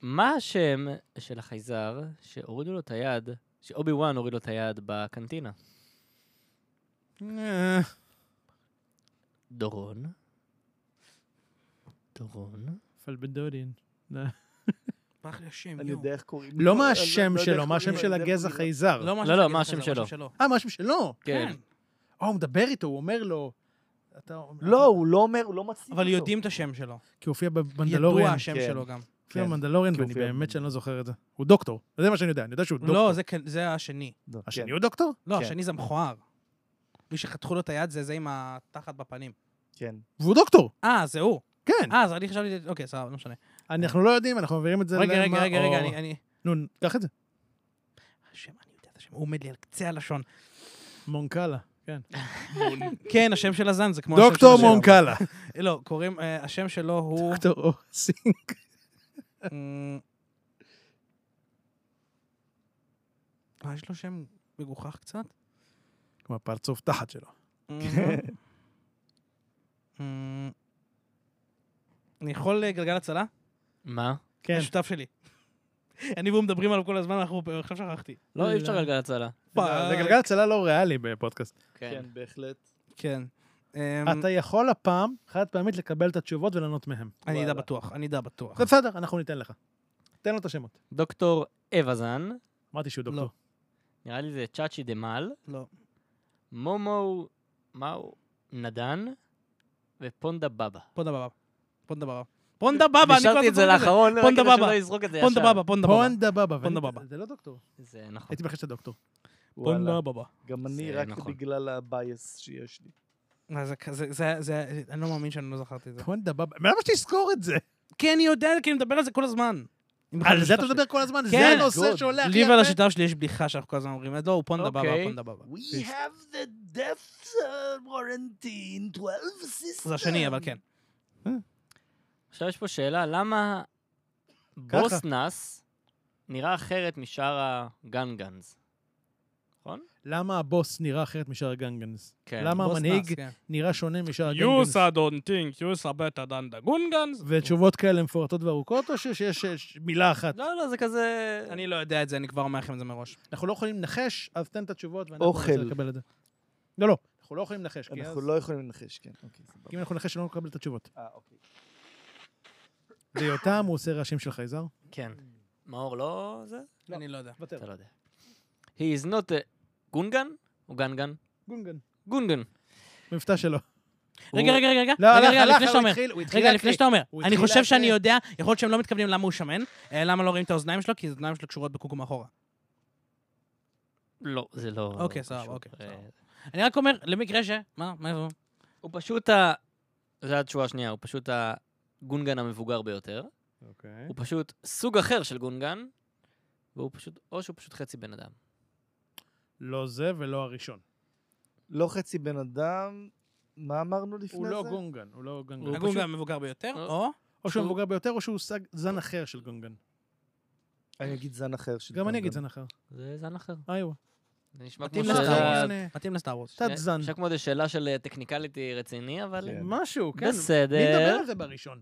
Speaker 5: מה השם של החייזר שהורידו לו את היד, שאובי וואן הוריד לו את היד בקנטינה?
Speaker 2: אה,
Speaker 5: דורון. דורון.
Speaker 2: פלבדודין.
Speaker 1: ברח לי השם,
Speaker 3: אני יודע איך קוראים לו.
Speaker 2: לא
Speaker 3: אני
Speaker 2: מה
Speaker 3: לא
Speaker 2: השם
Speaker 3: יודע
Speaker 2: שלו,
Speaker 3: איך
Speaker 2: מה השם
Speaker 3: קוראים לו,
Speaker 2: של
Speaker 3: אני יודע איך
Speaker 2: הגזע
Speaker 3: קוראים לו.
Speaker 2: חייזר.
Speaker 1: לא,
Speaker 5: לא, לא,
Speaker 1: של
Speaker 5: מה
Speaker 1: הגזע,
Speaker 5: השם
Speaker 1: זה
Speaker 5: שלו?
Speaker 2: אה, מה השם שלו?
Speaker 5: כן.
Speaker 2: אה, הוא מדבר איתו, הוא אומר לו... אתה-
Speaker 3: לא, הוא לא אומר, הוא לא מציג
Speaker 1: אבל יודעים את השם שלו.
Speaker 2: כי הוא הופיע
Speaker 1: ידוע
Speaker 2: בבנדלוריאן.
Speaker 1: השם
Speaker 3: כן.
Speaker 1: שלו גם.
Speaker 2: הופיע
Speaker 3: כן,
Speaker 2: במנדלוריאן,
Speaker 3: כי הוא
Speaker 2: ואני
Speaker 3: הופיע
Speaker 2: באמת
Speaker 3: ב-
Speaker 2: שאני לא זוכר את זה. הוא דוקטור, זה מה שאני יודע, אני יודע שהוא דוקטור.
Speaker 1: לא, זה כן- זה השני.
Speaker 3: לא, כן.
Speaker 2: השני הוא דוקטור?
Speaker 1: לא,
Speaker 3: כן.
Speaker 1: השני זה מכוער. מי שחתכו לו את היד זה זה עם התחת בפנים.
Speaker 3: כן.
Speaker 2: והוא דוקטור,
Speaker 1: אה, זה הוא.
Speaker 2: כן.
Speaker 1: אה, אז אני חשבתי... אוקיי, סבבה, לא משנה.
Speaker 2: אנחנו לא יודעים, אנחנו מעבירים את זה
Speaker 1: רגע, רגע,
Speaker 2: למה-
Speaker 1: רגע,
Speaker 2: או-
Speaker 1: רגע, אני- אני...
Speaker 2: נו, קח את זה.
Speaker 1: השם, אני יודע את השם. הוא עומד לי על קצה הלשון.
Speaker 2: מונקלה, כן.
Speaker 1: כן, השם של הזן זה כמו השם של
Speaker 2: דוקטור
Speaker 1: השם.
Speaker 2: מונקלה.
Speaker 1: לא, קוראים... אה, השם שלו הוא...
Speaker 2: דוקטור אורסינג.
Speaker 1: אמ, אה, יש לו שם מגוחך קצת?
Speaker 2: כמו הפרצוף תחת שלו. כן.
Speaker 1: אמ, אני יכול אה, גלגל הצלה?
Speaker 5: מה?
Speaker 2: כן.
Speaker 1: השותף שלי. אני והוא מדברים עליו כל הזמן, אנחנו... עכשיו שכחתי.
Speaker 5: לא, אי אפשר לגלגל הצלה.
Speaker 2: זה- זה גלגל הצלה לא ריאלי בפודקאסט.
Speaker 5: כן.
Speaker 3: כן, בהחלט.
Speaker 1: כן. אמ,
Speaker 2: אתה יכול הפעם, חד פעמית, לקבל את התשובות ולענות מהם.
Speaker 1: אני אדע
Speaker 3: וואלה.
Speaker 1: בטוח, אני אדע בטוח.
Speaker 2: זה בסדר, אנחנו ניתן לך. תן לו את השמות.
Speaker 5: דוקטור אווה זן,
Speaker 2: אמרתי שהוא
Speaker 1: לא.
Speaker 2: דוקטור.
Speaker 5: נראה לי זה צ'אצ'י דה מל,
Speaker 1: לא.
Speaker 5: מומו, מאו, נדן, ופונדה בבא.
Speaker 1: פונדה בבא. פונדה בבא. פונדה בבא, אני כל
Speaker 5: נשארתי
Speaker 1: הזמן
Speaker 5: את זה
Speaker 1: קורא לזה.
Speaker 5: לאחרון, רק
Speaker 1: פונדה
Speaker 5: כדי
Speaker 1: בבא.
Speaker 5: שלא יזרוק את זה ישר.
Speaker 1: פונדה בבא, פונדה לא, בבא.
Speaker 2: פונדה בבא. ואני-
Speaker 1: פונדה בבא.
Speaker 2: זה לא דוקטור.
Speaker 5: זה נכון.
Speaker 2: הייתי מחכה שאתה דוקטור.
Speaker 3: וואלה.
Speaker 1: פונדה בבא.
Speaker 3: גם אני,
Speaker 5: זה
Speaker 3: רק
Speaker 5: נכון.
Speaker 3: בגלל הבייס שיש לי.
Speaker 1: מה אה, זה כזה, זה, זה, אני לא מאמין שאני לא זכרתי את זה.
Speaker 2: פונדה בבא. למה שתזכור את זה?
Speaker 1: כי אני יודע, כי אני מדבר על זה כל הזמן. עם
Speaker 2: על זה
Speaker 1: השותף
Speaker 2: אתה
Speaker 1: שלי.
Speaker 2: מדבר כל הזמן, זה
Speaker 1: כן.
Speaker 2: הנושא
Speaker 3: גוד.
Speaker 2: שעולה הכי
Speaker 1: לי ועל
Speaker 2: הרבה.
Speaker 1: השותף שלי יש בדיחה שאנחנו כל הזמן אומרים, לא, הוא פונדה בבא,
Speaker 5: אוקיי.
Speaker 1: פונדה בבא.
Speaker 3: We have the death uh, warranty in 12 system.
Speaker 1: זה השני, אבל כן.
Speaker 5: עכשיו יש פה שאלה, למה בוסנס נראה אחרת משאר הגנגנז? נכון?
Speaker 2: למה הבוס נראה אחרת משאר הגנגנס?
Speaker 5: כן.
Speaker 2: למה
Speaker 1: בוס
Speaker 2: המנהיג
Speaker 1: נאס, כן.
Speaker 2: נראה שונה משאר הגנגנס?
Speaker 4: Use
Speaker 1: אה,
Speaker 4: I don't think, use a better than the Gungans.
Speaker 2: ותשובות כאלה מפורטות וארוכות, או שיש- שיש שיש מילה אחת?
Speaker 5: לא, לא, זה כזה...
Speaker 1: אני לא יודע את זה, אני כבר אומר לכם את זה מראש.
Speaker 2: אנחנו לא יכולים לנחש, אז תן את התשובות, ואנחנו
Speaker 3: אוכל.
Speaker 2: ננסה לקבל את זה. לא, לא, אנחנו לא יכולים לנחש, כי אז...
Speaker 3: אנחנו לא יכולים לנחש, כן. אוקיי, סבבה.
Speaker 2: אם אנחנו נחש, לא נקבל את התשובות.
Speaker 3: אה, אוקיי.
Speaker 2: בהיותם הוא עושה רעשים של חייזר?
Speaker 5: כן. מאור לא זה?
Speaker 1: אני לא יודע.
Speaker 2: ותר.
Speaker 5: אתה לא יודע. He is not a... גונגן? או גנגן?
Speaker 2: גונגן.
Speaker 5: גונגן.
Speaker 2: מבטא שלו.
Speaker 1: רגע, רגע, רגע, רגע,
Speaker 2: לא, הלך,
Speaker 1: רגע, רגע,
Speaker 2: הלך,
Speaker 1: לפני שאתה
Speaker 2: הוא
Speaker 1: אומר.
Speaker 2: התחיל, הוא התחיל
Speaker 1: רגע, לפני
Speaker 2: להקריא.
Speaker 1: שאתה אומר,
Speaker 2: הוא
Speaker 1: אני
Speaker 2: התחיל
Speaker 1: חושב שאני
Speaker 2: להקריא.
Speaker 1: יודע, יכול להיות שהם לא מתכוונים למה הוא שמן, אה, למה לא רואים את האוזניים שלו, כי האוזניים שלו קשורות בקוקו מאחורה.
Speaker 5: לא, זה לא...
Speaker 1: אוקיי,
Speaker 5: לא
Speaker 1: סבבה,
Speaker 5: קשור.
Speaker 1: אוקיי,
Speaker 5: אה,
Speaker 1: סבבה. אני רק אומר, למקרה ש... מה? מה זה?
Speaker 5: הוא פשוט ה... זו התשובה השנייה, הוא פשוט הגונגן המבוגר ביותר.
Speaker 2: אוקיי.
Speaker 5: הוא פשוט סוג אחר של גונגן, והוא פשוט... או שהוא פשוט חצי בן אדם.
Speaker 2: לא זה ולא הראשון.
Speaker 3: לא חצי בן אדם, מה אמרנו לפני זה?
Speaker 2: הוא לא גונגן, הוא לא גונגן.
Speaker 5: הוא
Speaker 1: הגונג
Speaker 5: פשוט-
Speaker 1: המבוגר ביותר,
Speaker 5: אה.
Speaker 1: או?
Speaker 2: או שהוא מבוגר ביותר, או שהוא סג- זן אחר של גונגן.
Speaker 3: אני אגיד זן אחר של
Speaker 2: גם אני
Speaker 3: גונגן.
Speaker 2: אגיד זן אחר.
Speaker 5: זה זן אחר.
Speaker 2: איואה.
Speaker 5: זה נשמע כמו
Speaker 1: מתאים
Speaker 5: שאלה...
Speaker 1: לסטאר וורס.
Speaker 2: אה,
Speaker 1: מתאים לסטאר וורס.
Speaker 2: תת זן.
Speaker 5: נשמע כמו איזה שאלה של אה, טכניקליטי רציני, אבל...
Speaker 3: כן.
Speaker 2: משהו, כן. מי מדבר
Speaker 5: בסדר.
Speaker 2: על זה בראשון?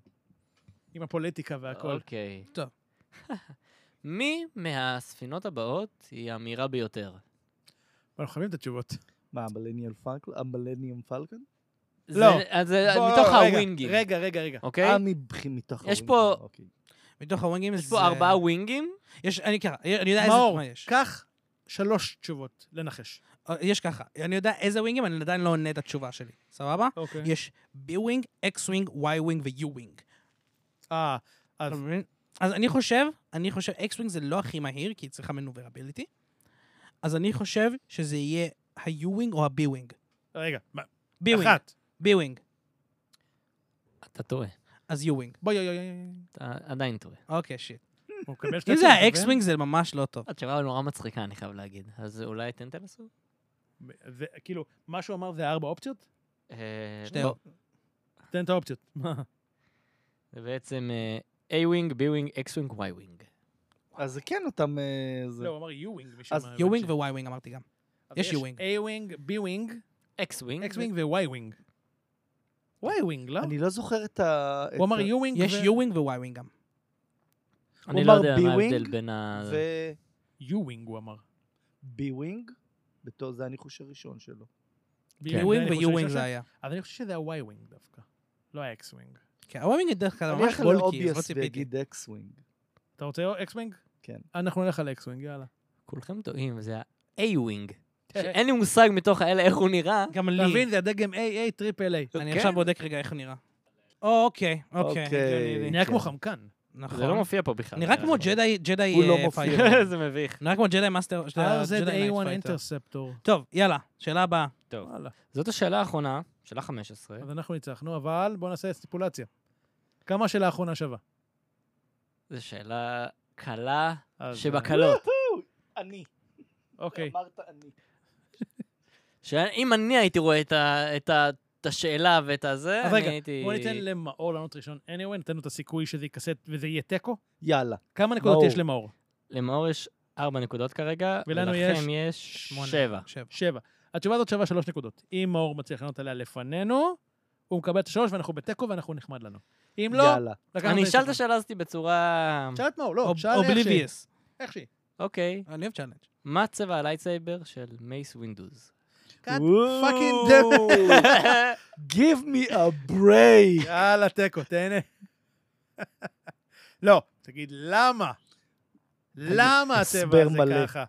Speaker 2: עם הפוליטיקה והכל.
Speaker 5: אוקיי.
Speaker 1: טוב.
Speaker 5: מי מהספינות הבאות היא המהירה ביותר?
Speaker 2: אנחנו חייבים את התשובות.
Speaker 3: מה, המלניאל פלקון? המלניאם פלקון?
Speaker 5: זה-
Speaker 2: לא.
Speaker 5: אז זה
Speaker 2: בוא,
Speaker 5: מתוך
Speaker 2: רגע,
Speaker 5: הווינגים,
Speaker 2: רגע, רגע, רגע.
Speaker 5: אוקיי?
Speaker 3: אה, מבח- מתוך
Speaker 5: יש
Speaker 3: הווינגים,
Speaker 5: פה-
Speaker 3: אוקיי.
Speaker 1: מתוך הווינגים זה...
Speaker 5: יש פה ארבעה ווינגים.
Speaker 1: יש, אני ככה, אני יודע איזה...
Speaker 2: מאור.
Speaker 1: מה יש?
Speaker 2: קח שלוש תשובות, לנחש.
Speaker 1: אה, יש ככה, אני יודע איזה ווינגים, אני עדיין לא עונה את התשובה שלי, סבבה?
Speaker 2: אוקיי.
Speaker 1: יש B-ווינג, X-ווינג, Y-ווינג ו-U-ווינג.
Speaker 2: אה, אז
Speaker 1: אתה מבין? אז אני חושב, אני חושב, X-ווינג זה לא הכי מהיר, כי היא צריכה מנוברביליטי. אז אני חושב שזה יהיה ה-U-ווינג או ה-B-ווינג.
Speaker 2: רגע, מה-
Speaker 1: B-ווינג,
Speaker 2: אחת.
Speaker 1: B-ווינג,
Speaker 5: אתה טועה.
Speaker 1: אז U-ווינג.
Speaker 2: בואי, אוי, אוי, אוי.
Speaker 5: אתה עדיין טועה.
Speaker 1: אוקיי, שיט.
Speaker 2: הוא מקבל שתי
Speaker 1: אם זה
Speaker 2: תשובות,
Speaker 1: ה-X-ווינג זה ממש לא טוב.
Speaker 5: התשובה נורא מצחיקה, אני חייב להגיד. אז אולי אתן תנסו?
Speaker 2: ו- זה- כאילו, מה שהוא אמר זה ארבע אופציות?
Speaker 3: כן.
Speaker 5: אה,
Speaker 1: שתי
Speaker 5: לא.
Speaker 2: תן את האופציות.
Speaker 5: זה בעצם אה, A-ווינג, B-ווינג, X-ווינג, Y-ווינג.
Speaker 3: אז זה כן אותם... אה, זה-
Speaker 2: לא, הוא אמר U-Wing. משום
Speaker 3: אז
Speaker 2: מה, הבנתי.
Speaker 1: U-ווינג ו-Y-ווינג אמרתי גם.
Speaker 2: אז
Speaker 1: יש U-Wing.
Speaker 2: A-Wing, B-Wing,
Speaker 5: X-ווינג.
Speaker 2: X-Wing ו-Y-Wing. Y-Wing, לא?
Speaker 3: אני לא זוכר את ה...
Speaker 2: הוא
Speaker 3: את
Speaker 2: אמר
Speaker 3: ה-
Speaker 2: U-Wing
Speaker 1: יש U-ווינג ו-Y-ווינג גם.
Speaker 5: אני
Speaker 3: הוא
Speaker 5: לא
Speaker 3: אמר
Speaker 5: יודע מה ההבדל
Speaker 3: B-wing
Speaker 5: בין ה...
Speaker 3: ו...
Speaker 2: U-Wing, הוא אמר.
Speaker 3: B-Wing, בתור זה הניחוש הראשון שלו.
Speaker 1: U-ווינג
Speaker 2: כן. אני חושב
Speaker 1: ו-U-ווינג
Speaker 2: שזה-
Speaker 1: זה היה.
Speaker 2: אבל אני חושב שזה ה-Y-Wing דווקא. לא ה-X-Wing.
Speaker 1: כן, ה-Y-ווינג דרך כלל
Speaker 3: אני
Speaker 1: ממש
Speaker 3: הולך על
Speaker 1: בולקי, אז לא
Speaker 3: אובייס
Speaker 1: ציפיתי.
Speaker 3: ויגיד X-Wing.
Speaker 2: אתה רוצה X-Wing?
Speaker 3: כן.
Speaker 2: אנחנו נלך על X-Wing, יאללה.
Speaker 5: כולכם טועים, זה ה-A-ווינג.
Speaker 2: כן.
Speaker 5: שאין לי מושג מתוך האלה איך הוא נראה.
Speaker 1: גם
Speaker 2: אתה
Speaker 1: לי.
Speaker 2: מבין, זה הדגם AA, טריפל
Speaker 3: לא,
Speaker 2: A.
Speaker 1: אני
Speaker 5: כן?
Speaker 1: עכשיו בודק רגע איך הוא נראה. או, אוקיי, אוקיי.
Speaker 3: אוקיי.
Speaker 1: הגיוני לי.
Speaker 2: נראה
Speaker 3: כן.
Speaker 2: כמו חמקן.
Speaker 5: זה לא
Speaker 1: נכון.
Speaker 5: מופיע פה בכלל.
Speaker 1: נראה כמו ג'די, ג'די...
Speaker 3: הוא לא
Speaker 1: אה,
Speaker 3: מופיע.
Speaker 1: פייטר.
Speaker 5: זה מביך.
Speaker 1: נראה כמו ג'די מאסטר, ג'די
Speaker 2: אה,
Speaker 1: נייט
Speaker 2: RZA1
Speaker 1: פייטר.
Speaker 2: אינטרספטור.
Speaker 1: טוב, יאללה, שאלה הבאה.
Speaker 5: טוב.
Speaker 2: וואלה.
Speaker 5: זאת השאלה האחרונה, שאלה 15.
Speaker 2: אז אנחנו ניצחנו, אבל בואו נעשה סטיפולציה. כמה שלאחרונה שווה?
Speaker 5: זו שאלה קלה
Speaker 2: אז,
Speaker 5: שבקלות.
Speaker 3: אני.
Speaker 2: אוקיי.
Speaker 3: אמרת אני.
Speaker 5: שאם אני הייתי רואה את ה- את ה- את השאלה ואת הזה,
Speaker 2: אז
Speaker 5: אני
Speaker 2: רגע,
Speaker 5: הייתי...
Speaker 2: בואו ניתן למאור לענות ראשון anyway, נתן לו את הסיכוי שזה ייכסת וזה יהיה תיקו.
Speaker 3: יאללה.
Speaker 2: כמה נקודות
Speaker 3: מאור.
Speaker 2: יש למאור?
Speaker 5: למאור יש ארבע נקודות כרגע,
Speaker 2: ולנו
Speaker 5: ולכם יש
Speaker 1: שמונה.
Speaker 5: שבע.
Speaker 1: שבע.
Speaker 2: שבע. התשובה הזאת שווה שלוש נקודות. אם מאור מצליח לענות עליה לפנינו, הוא מקבל את השלוש ואנחנו בתיקו ואנחנו נחמד לנו. אם לא,
Speaker 3: יאללה.
Speaker 2: לקחנו
Speaker 5: אני אשאל את
Speaker 2: הניצחון.
Speaker 5: השאלה הזאת בצורה...
Speaker 2: שאל את מאור, לא, שאל איך שהיא.
Speaker 1: אובליביוס.
Speaker 2: איך שהיא.
Speaker 5: אוקיי.
Speaker 1: אני אוהב צ'אלנג'.
Speaker 5: מה צבע הלייטסייבר של מייס ווינדוס?
Speaker 2: קאט
Speaker 3: וואו.
Speaker 2: פאקינג דמו.
Speaker 3: Give me a break.
Speaker 2: יאללה, תיקו, תהנה. לא, תגיד למה? למה הצבע
Speaker 3: הסבר
Speaker 2: הזה
Speaker 3: מלא.
Speaker 2: ככה?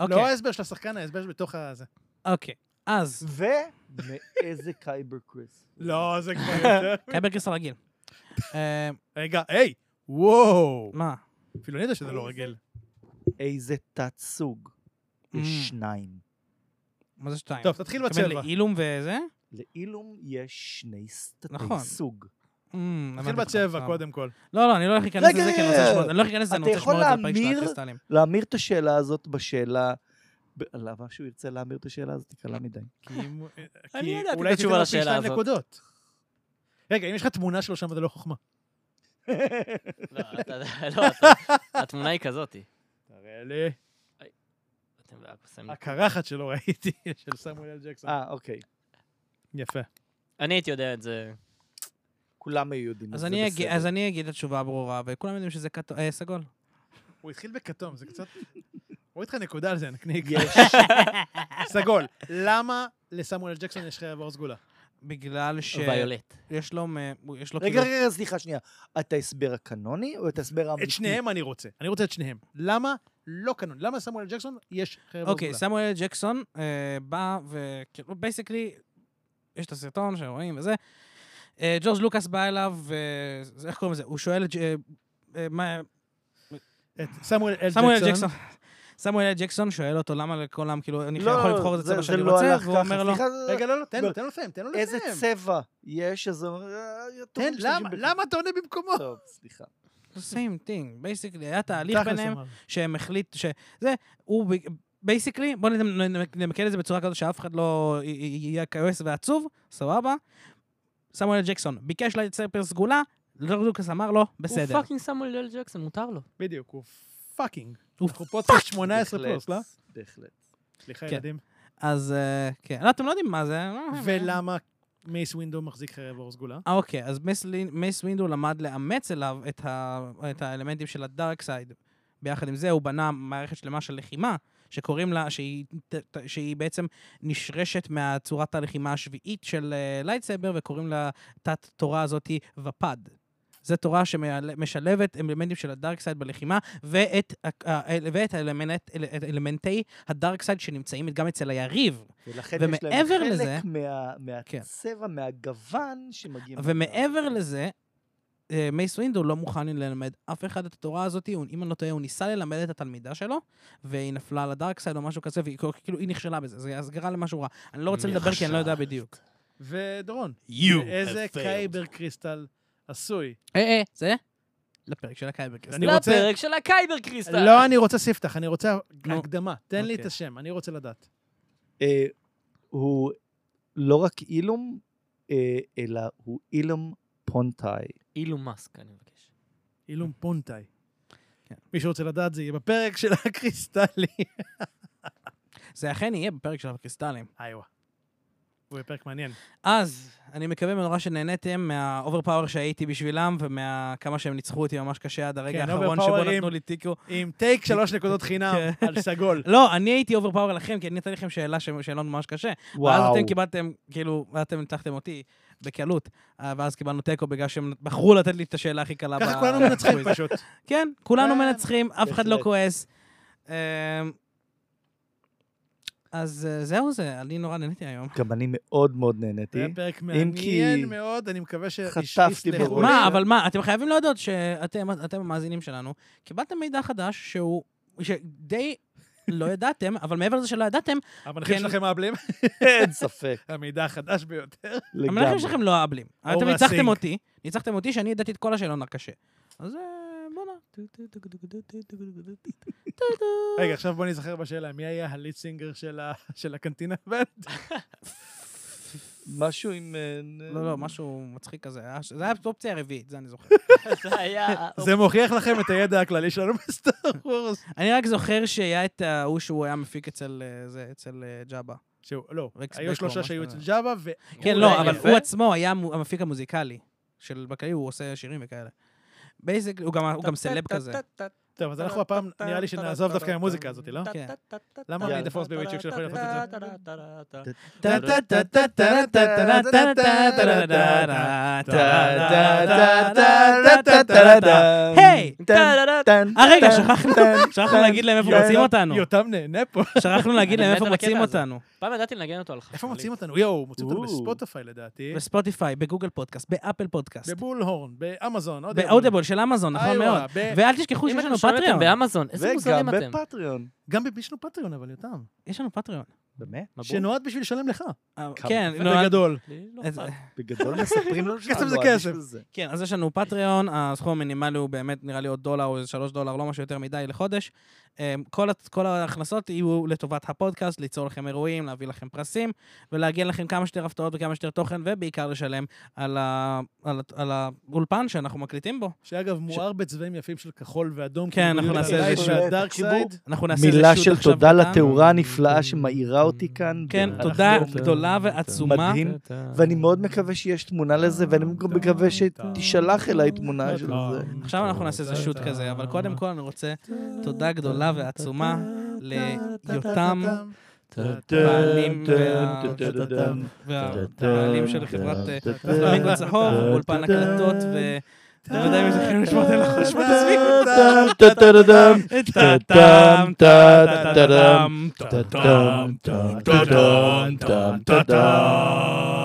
Speaker 2: לא
Speaker 1: אוקיי,
Speaker 2: ההסבר של השחקן, ההסבר שבתוך הזה.
Speaker 1: אוקיי. אז,
Speaker 3: ומאיזה קייבר קריס.
Speaker 2: לא, זה כבר יותר.
Speaker 1: קייבר קריסטל רגיל. אה,
Speaker 2: רגע, היי, וואו.
Speaker 1: מה?
Speaker 2: אפילו אני יודע שזה לא רגיל.
Speaker 3: איזה תת-סוג. יש
Speaker 1: Mm.
Speaker 3: שניים.
Speaker 1: מה זה שתיים?
Speaker 2: טוב, תתחיל
Speaker 1: אתה מתכוון
Speaker 2: בצבע.
Speaker 1: לעילום וזה? Mm,
Speaker 3: לאילום יש שני
Speaker 1: נכון.
Speaker 3: סטטי סוג.
Speaker 1: Mm,
Speaker 2: תתחיל
Speaker 1: הבנתי אותך,
Speaker 2: בצבע
Speaker 1: סבבה.
Speaker 2: קודם כל.
Speaker 1: לא, לא, אני לא הולך להיכנס לזה,
Speaker 3: רגע,
Speaker 1: כי אני רוצה לשמוע אני לא הולך להיכנס לזה, אני
Speaker 3: אתה
Speaker 1: רוצה
Speaker 3: יכול
Speaker 1: לשמור את זה לפרק של
Speaker 3: להמיר?
Speaker 1: הקריסטלים.
Speaker 3: להמיר את השאלה הזאת בשאלה... ב- למה שהוא ירצה להמיר את השאלה הזאת? היא קלה מדי.
Speaker 2: כי אם-
Speaker 5: אני
Speaker 2: כי
Speaker 5: ידעתי את
Speaker 2: אולי
Speaker 5: התשובה
Speaker 2: תיתן לו פי
Speaker 5: לשאלה
Speaker 2: שתיים
Speaker 5: הזאת.
Speaker 2: נקודות. רגע, אם יש לך תמונה שלו שם, זה לא חוכמה.
Speaker 5: לא, אתה- לא, אתה- התמונה היא כזאתי.
Speaker 2: תראה לי.
Speaker 5: אתם רק עושים לי-
Speaker 2: הקרחת שלו ראיתי, של סמואל אל ג'קסון.
Speaker 3: אה, אוקיי.
Speaker 2: יפה.
Speaker 5: אני הייתי יודע את זה.
Speaker 3: כולם היו יודעים,
Speaker 1: אז
Speaker 3: זה
Speaker 1: אני אגיד-
Speaker 3: בסדר.
Speaker 1: אז אני אגיד את התשובה הברורה, וכולם יודעים שזה כתוב, אה, סגול.
Speaker 2: הוא התחיל בכתום, זה קצת... רואה איתך נקודה על זה, נקניק.
Speaker 3: יש.
Speaker 2: סגול. למה לסמואל אל ג'קסון יש חיי עבור סגולה?
Speaker 1: בגלל ש...
Speaker 5: ויולט.
Speaker 1: יש לו... מ- יש לו
Speaker 3: רגע,
Speaker 1: כאילו...
Speaker 3: רגע, רגע, סליחה, שנייה. את ההסבר הקנוני או את ההסבר האמיתי?
Speaker 2: את שניהם אני רוצה. אני רוצה את שניהם. למה לא קנון? למה לסמואל אל ג'קסון יש חיי עבור
Speaker 1: אוקיי,
Speaker 2: סגולה?
Speaker 1: סמואל אל ג'קסון אה, בא וכאילו, בייסקלי, יש את הסרטון שרואים וזה. אה, ג'ורג' לוקאס בא אליו, אה, זה- איך קוראים לזה? הוא שואל את... ג'- אה, אה, מה-
Speaker 2: את סמואל אל
Speaker 1: סמואל אל
Speaker 2: ג'קסון.
Speaker 1: ג'קסון. סמואל אל ג'קסון שואל אותו למה לכל העם, כאילו, אני
Speaker 3: לא,
Speaker 1: יכול לבחור איזה
Speaker 3: זה-
Speaker 1: צבע
Speaker 3: זה
Speaker 1: שאני
Speaker 3: לא
Speaker 1: רוצה,
Speaker 3: הלך
Speaker 1: והוא
Speaker 3: ככה.
Speaker 1: אומר לו,
Speaker 3: סליחה, זה-
Speaker 2: רגע, לא, לא, תן לו,
Speaker 3: לא.
Speaker 2: תן לו לסיים, תן לו
Speaker 3: איזה
Speaker 2: לסיים.
Speaker 3: צבע יש, אז... הוא- אה, טוב,
Speaker 2: תן,
Speaker 3: משתמשים
Speaker 2: למה?
Speaker 3: בך.
Speaker 2: למה אתה עונה במקומו?
Speaker 3: טוב, סליחה.
Speaker 1: same thing, בייסקלי, היה תהליך
Speaker 2: תכלס,
Speaker 1: ביניהם,
Speaker 2: אמר.
Speaker 1: שהם החליט ש... זה, הוא... בייסיקלי, בואו נמקד את זה בצורה כזאת שאף אחד לא י- י- יהיה כועס ועצוב, סבבה. סמואל ג'קסון ביקש לייצר סגולה, ג'ורג' לוקאס אמר לו, בסדר.
Speaker 5: הוא פאקינג סמואל אל ג'קסון, מותר לו.
Speaker 2: בדיוק, הוא פאקינג.
Speaker 1: הוא
Speaker 2: אנחנו פודקאסט 18
Speaker 3: בהחלט,
Speaker 2: פלוס, לא?
Speaker 3: בהחלט.
Speaker 2: סליחה,
Speaker 1: כן.
Speaker 2: ילדים.
Speaker 1: אז אה, כן, לא, אתם לא יודעים מה זה.
Speaker 2: ולמה מייס ווינדו מחזיק חיי עבור סגולה?
Speaker 1: אה, אוקיי, אז מייס לין- מייס ווינדו למד לאמץ אליו את ה- את האלמנטים של הדארק סייד. ביחד עם זה הוא בנה מערכת שלמה של לחימה, שקוראים לה, שהיא, ת- ת- שהיא בעצם נשרשת מהצורת הלחימה השביעית של אה, לייטסייבר, וקוראים לה תת-תורה הזאת ופד. זו תורה שמשלבת אלמנטים של הדארק סייד בלחימה ואת, ה- ה- ואת האלמנט, אל- אל- אלמנטי הדארק סייד שנמצאים גם אצל היריב.
Speaker 3: ולכן יש להם
Speaker 1: ומעבר
Speaker 3: חלק
Speaker 1: לזה-
Speaker 3: מה,
Speaker 1: כן.
Speaker 3: מהצבע, מהגוון שמגיעים.
Speaker 2: כאילו.
Speaker 1: ומעבר לזה, אה, מייס ווינדו לא מוכן ללמד אף אחד את התורה הזאת, הוא- אם אני לא טועה, הוא ניסה ללמד את התלמידה שלו, והיא נפלה על הדארק סייד או משהו כזה, והיא כאילו- כאילו היא נכשלה בזה, זה אז גרם למשהו רע. אני לא רוצה לדבר כי אני לא יודע בדיוק.
Speaker 2: ודורון,
Speaker 4: You
Speaker 2: איזה קייבר קריסטל עשוי.
Speaker 1: אה, אה, זה? לפרק של הקייבר
Speaker 2: אני רוצה-
Speaker 5: לפרק של הקייבר קריסטל.
Speaker 2: לא, אני רוצה ספתח, אני רוצה
Speaker 1: נו.
Speaker 2: הקדמה. תן לי את
Speaker 1: אוקיי.
Speaker 2: השם, אני רוצה לדעת.
Speaker 3: אה, הוא לא רק אילום, אה, אלא הוא אילום פונטאי.
Speaker 5: אילון מאסק, אני מבקש.
Speaker 2: אילום פונטאי.
Speaker 1: כן.
Speaker 2: מי שרוצה לדעת, זה יהיה בפרק של הקריסטלים.
Speaker 1: זה אכן יהיה בפרק של הקריסטלים.
Speaker 2: איווה. הוא יהיה פרק מעניין.
Speaker 1: אז, אני מקווה מאוד שנהניתם מהאוברפאוור שהייתי בשבילם, ומהכמה שהם ניצחו אותי ממש קשה עד הרגע
Speaker 2: כן,
Speaker 1: האחרון שבו
Speaker 2: overpowering.
Speaker 1: נתנו לי טיקו.
Speaker 2: עם טייק שלוש נקודות חינם
Speaker 1: כן.
Speaker 2: על סגול.
Speaker 1: לא, אני הייתי אוברפאוור לכם, כי אני נתתי לכם שאלה, ש- שאלון ממש קשה. ואז אתם קיבלתם, כאילו, אתם ניצחתם אותי בקלות, אה, ואז קיבלנו תיקו בגלל שהם בחרו לתת לי את השאלה הכי קלה.
Speaker 2: ככה
Speaker 1: ב-
Speaker 2: כולנו מנצחים
Speaker 1: בקוויז.
Speaker 2: פשוט.
Speaker 1: כן, כולנו
Speaker 2: כן,
Speaker 1: מנצחים, אף אחד לא
Speaker 3: בהחלט.
Speaker 1: כועס. אמ, אז אה, זהו זה, אני נורא נהניתי היום.
Speaker 3: גם אני מאוד מאוד נהניתי.
Speaker 2: זה היה
Speaker 1: אה,
Speaker 2: פרק
Speaker 3: כי
Speaker 2: מעניין מאוד, אני מקווה ש-
Speaker 3: חטפתי
Speaker 2: יסלחו
Speaker 3: בראש.
Speaker 2: לי.
Speaker 1: מה, אבל מה, אתם חייבים להודות שאתם אתם המאזינים שלנו, קיבלתם מידע חדש שהוא, שדי לא ידעתם, אבל מעבר לזה שלא ידעתם,
Speaker 2: המנחים
Speaker 1: כן.
Speaker 2: שלכם מאבלים?
Speaker 3: אין ספק,
Speaker 2: המידע החדש ביותר.
Speaker 3: לגמרי.
Speaker 1: המלאכים שלכם לא אהבלים. אתם
Speaker 2: אור הסינק.
Speaker 1: ניצחתם אותי, ניצחתם אותי שאני ידעתי את כל השאלון הקשה. אז אה, בואנה.
Speaker 2: רגע, עכשיו בוא נזכר בשאלה, מי היה הליד סינגר של ה- של הקנטינה בנד?
Speaker 3: משהו עם... אה,
Speaker 1: לא, לא, משהו מצחיק כזה. היה- זה היה האופציה הרביעית, זה אני זוכר.
Speaker 5: זה היה...
Speaker 2: זה מוכיח לכם את הידע הכללי שלנו בסטאר וורס.
Speaker 1: אני רק זוכר שהיה את ההוא שהוא היה מפיק אצל אה, זה, אצל אה, ג'אבה.
Speaker 2: שהוא, לא,
Speaker 1: רקס
Speaker 2: היו
Speaker 1: בקו,
Speaker 2: שלושה
Speaker 1: משהו
Speaker 2: שהיו אצל
Speaker 1: כזה.
Speaker 2: ג'אבה, ו...
Speaker 1: כן,
Speaker 5: הוא
Speaker 1: לא,
Speaker 5: היה
Speaker 1: אבל
Speaker 5: יפה.
Speaker 1: הוא עצמו היה מו- המפיק המוזיקלי. של בכללי, הוא עושה שירים וכאלה. בייסק, הוא גם- הוא גם סלב כזה.
Speaker 2: טוב, אז אנחנו הפעם, נראה לי שנעזוב דווקא עם המוזיקה הזאת, לא?
Speaker 1: כן.
Speaker 2: למה
Speaker 3: יאללה.
Speaker 2: אני דפוס בוויצ'וק שיכול לעשות את זה?
Speaker 1: היי!
Speaker 3: טן,
Speaker 1: אה, רגע,
Speaker 3: טן,
Speaker 1: שכחנו-
Speaker 3: טן,
Speaker 1: שכחנו להגיד להם איפה
Speaker 3: יאללה.
Speaker 1: מוצאים אותנו.
Speaker 2: יותם נהנה פה.
Speaker 1: שכחנו להגיד
Speaker 5: אני
Speaker 1: להם
Speaker 5: מת
Speaker 1: איפה
Speaker 5: על הקטע
Speaker 1: מוצאים
Speaker 5: הזה.
Speaker 1: אותנו.
Speaker 5: פעם ידעתי לנגן אותו על חשמלי.
Speaker 2: איפה מוצאים אותנו? יואו, מוצאים אותנו
Speaker 3: או.
Speaker 2: בספוטיפיי לדעתי,
Speaker 1: בספוטיפיי, בגוגל פודקאסט, באפל פודקאסט,
Speaker 2: בבולהורן, באמזון,
Speaker 1: באודיבול של אמזון, נכון
Speaker 2: איווה,
Speaker 1: מאוד.
Speaker 2: ב-
Speaker 1: ואל תשכחו
Speaker 5: אם
Speaker 1: שיש
Speaker 5: אתם
Speaker 1: לנו
Speaker 5: שומעים
Speaker 1: פטריון.
Speaker 5: אתם באמזון, איזה
Speaker 3: וגם
Speaker 5: מוזרים אתם.
Speaker 3: בפטריון.
Speaker 2: גם ב- יש לנו פטריון, אבל יותם.
Speaker 1: יש לנו פטריון.
Speaker 3: באמת?
Speaker 5: מבול?
Speaker 2: שנועד בשביל לשלם לך.
Speaker 1: אה,
Speaker 3: כמה?
Speaker 1: כן, נו, אז-
Speaker 2: בגדול.
Speaker 5: לי לא
Speaker 1: אז-
Speaker 5: אכפת.
Speaker 3: בגדול מספרים לנו
Speaker 2: כסף זה
Speaker 3: לא,
Speaker 2: כסף.
Speaker 3: בשביל זה.
Speaker 1: כן, אז יש לנו פטריון, הסכום המינימלי הוא באמת נראה לי עוד דולר או איזה שלוש דולר, לא משהו יותר מדי לחודש. אה, כל הת- כל ההכנסות יהיו לטובת הפודקאסט, ליצור לכם אירועים, להביא לכם פרסים, ולהגיע לכם כמה שיותר הפתעות וכמה שיותר תוכן, ובעיקר לשלם על ה- על ה- על האולפן שאנחנו מקליטים בו.
Speaker 2: שאגב, מואר בצבעים יפים של כחול ואדום. כאילו,
Speaker 1: כן, אנחנו נעשה
Speaker 3: איזה שוט.
Speaker 2: דארק סייד.
Speaker 1: אנחנו נעשה איזה
Speaker 3: מילה
Speaker 1: שוט
Speaker 3: של
Speaker 1: עכשיו
Speaker 3: תודה
Speaker 1: קטן.
Speaker 3: לתאורה הנפלאה שמאירה אותי כאן.
Speaker 1: כן,
Speaker 3: ואנחנו-
Speaker 1: תודה גדולה ועצומה.
Speaker 3: מדהים. ואני מאוד מקווה שיש תמונה לזה, ואני גם מקווה שתישלח אליי תמונה של זה.
Speaker 1: עכשיו אנחנו נעשה איזה שוט כזה, אבל קודם כל אני רוצה תודה גדולה ועצומה ליותם בעלים והבעלים של חברת אה, פלמינגו צהוב, אולפן הקלטות, ו... אתם יודעים אם זה חייב לשמוע את הלחוש בעצמי? טאטאם, טאטאם, טאטאם, טאטאם.
Speaker 4: טאטאם, טאטאם, טאטאם.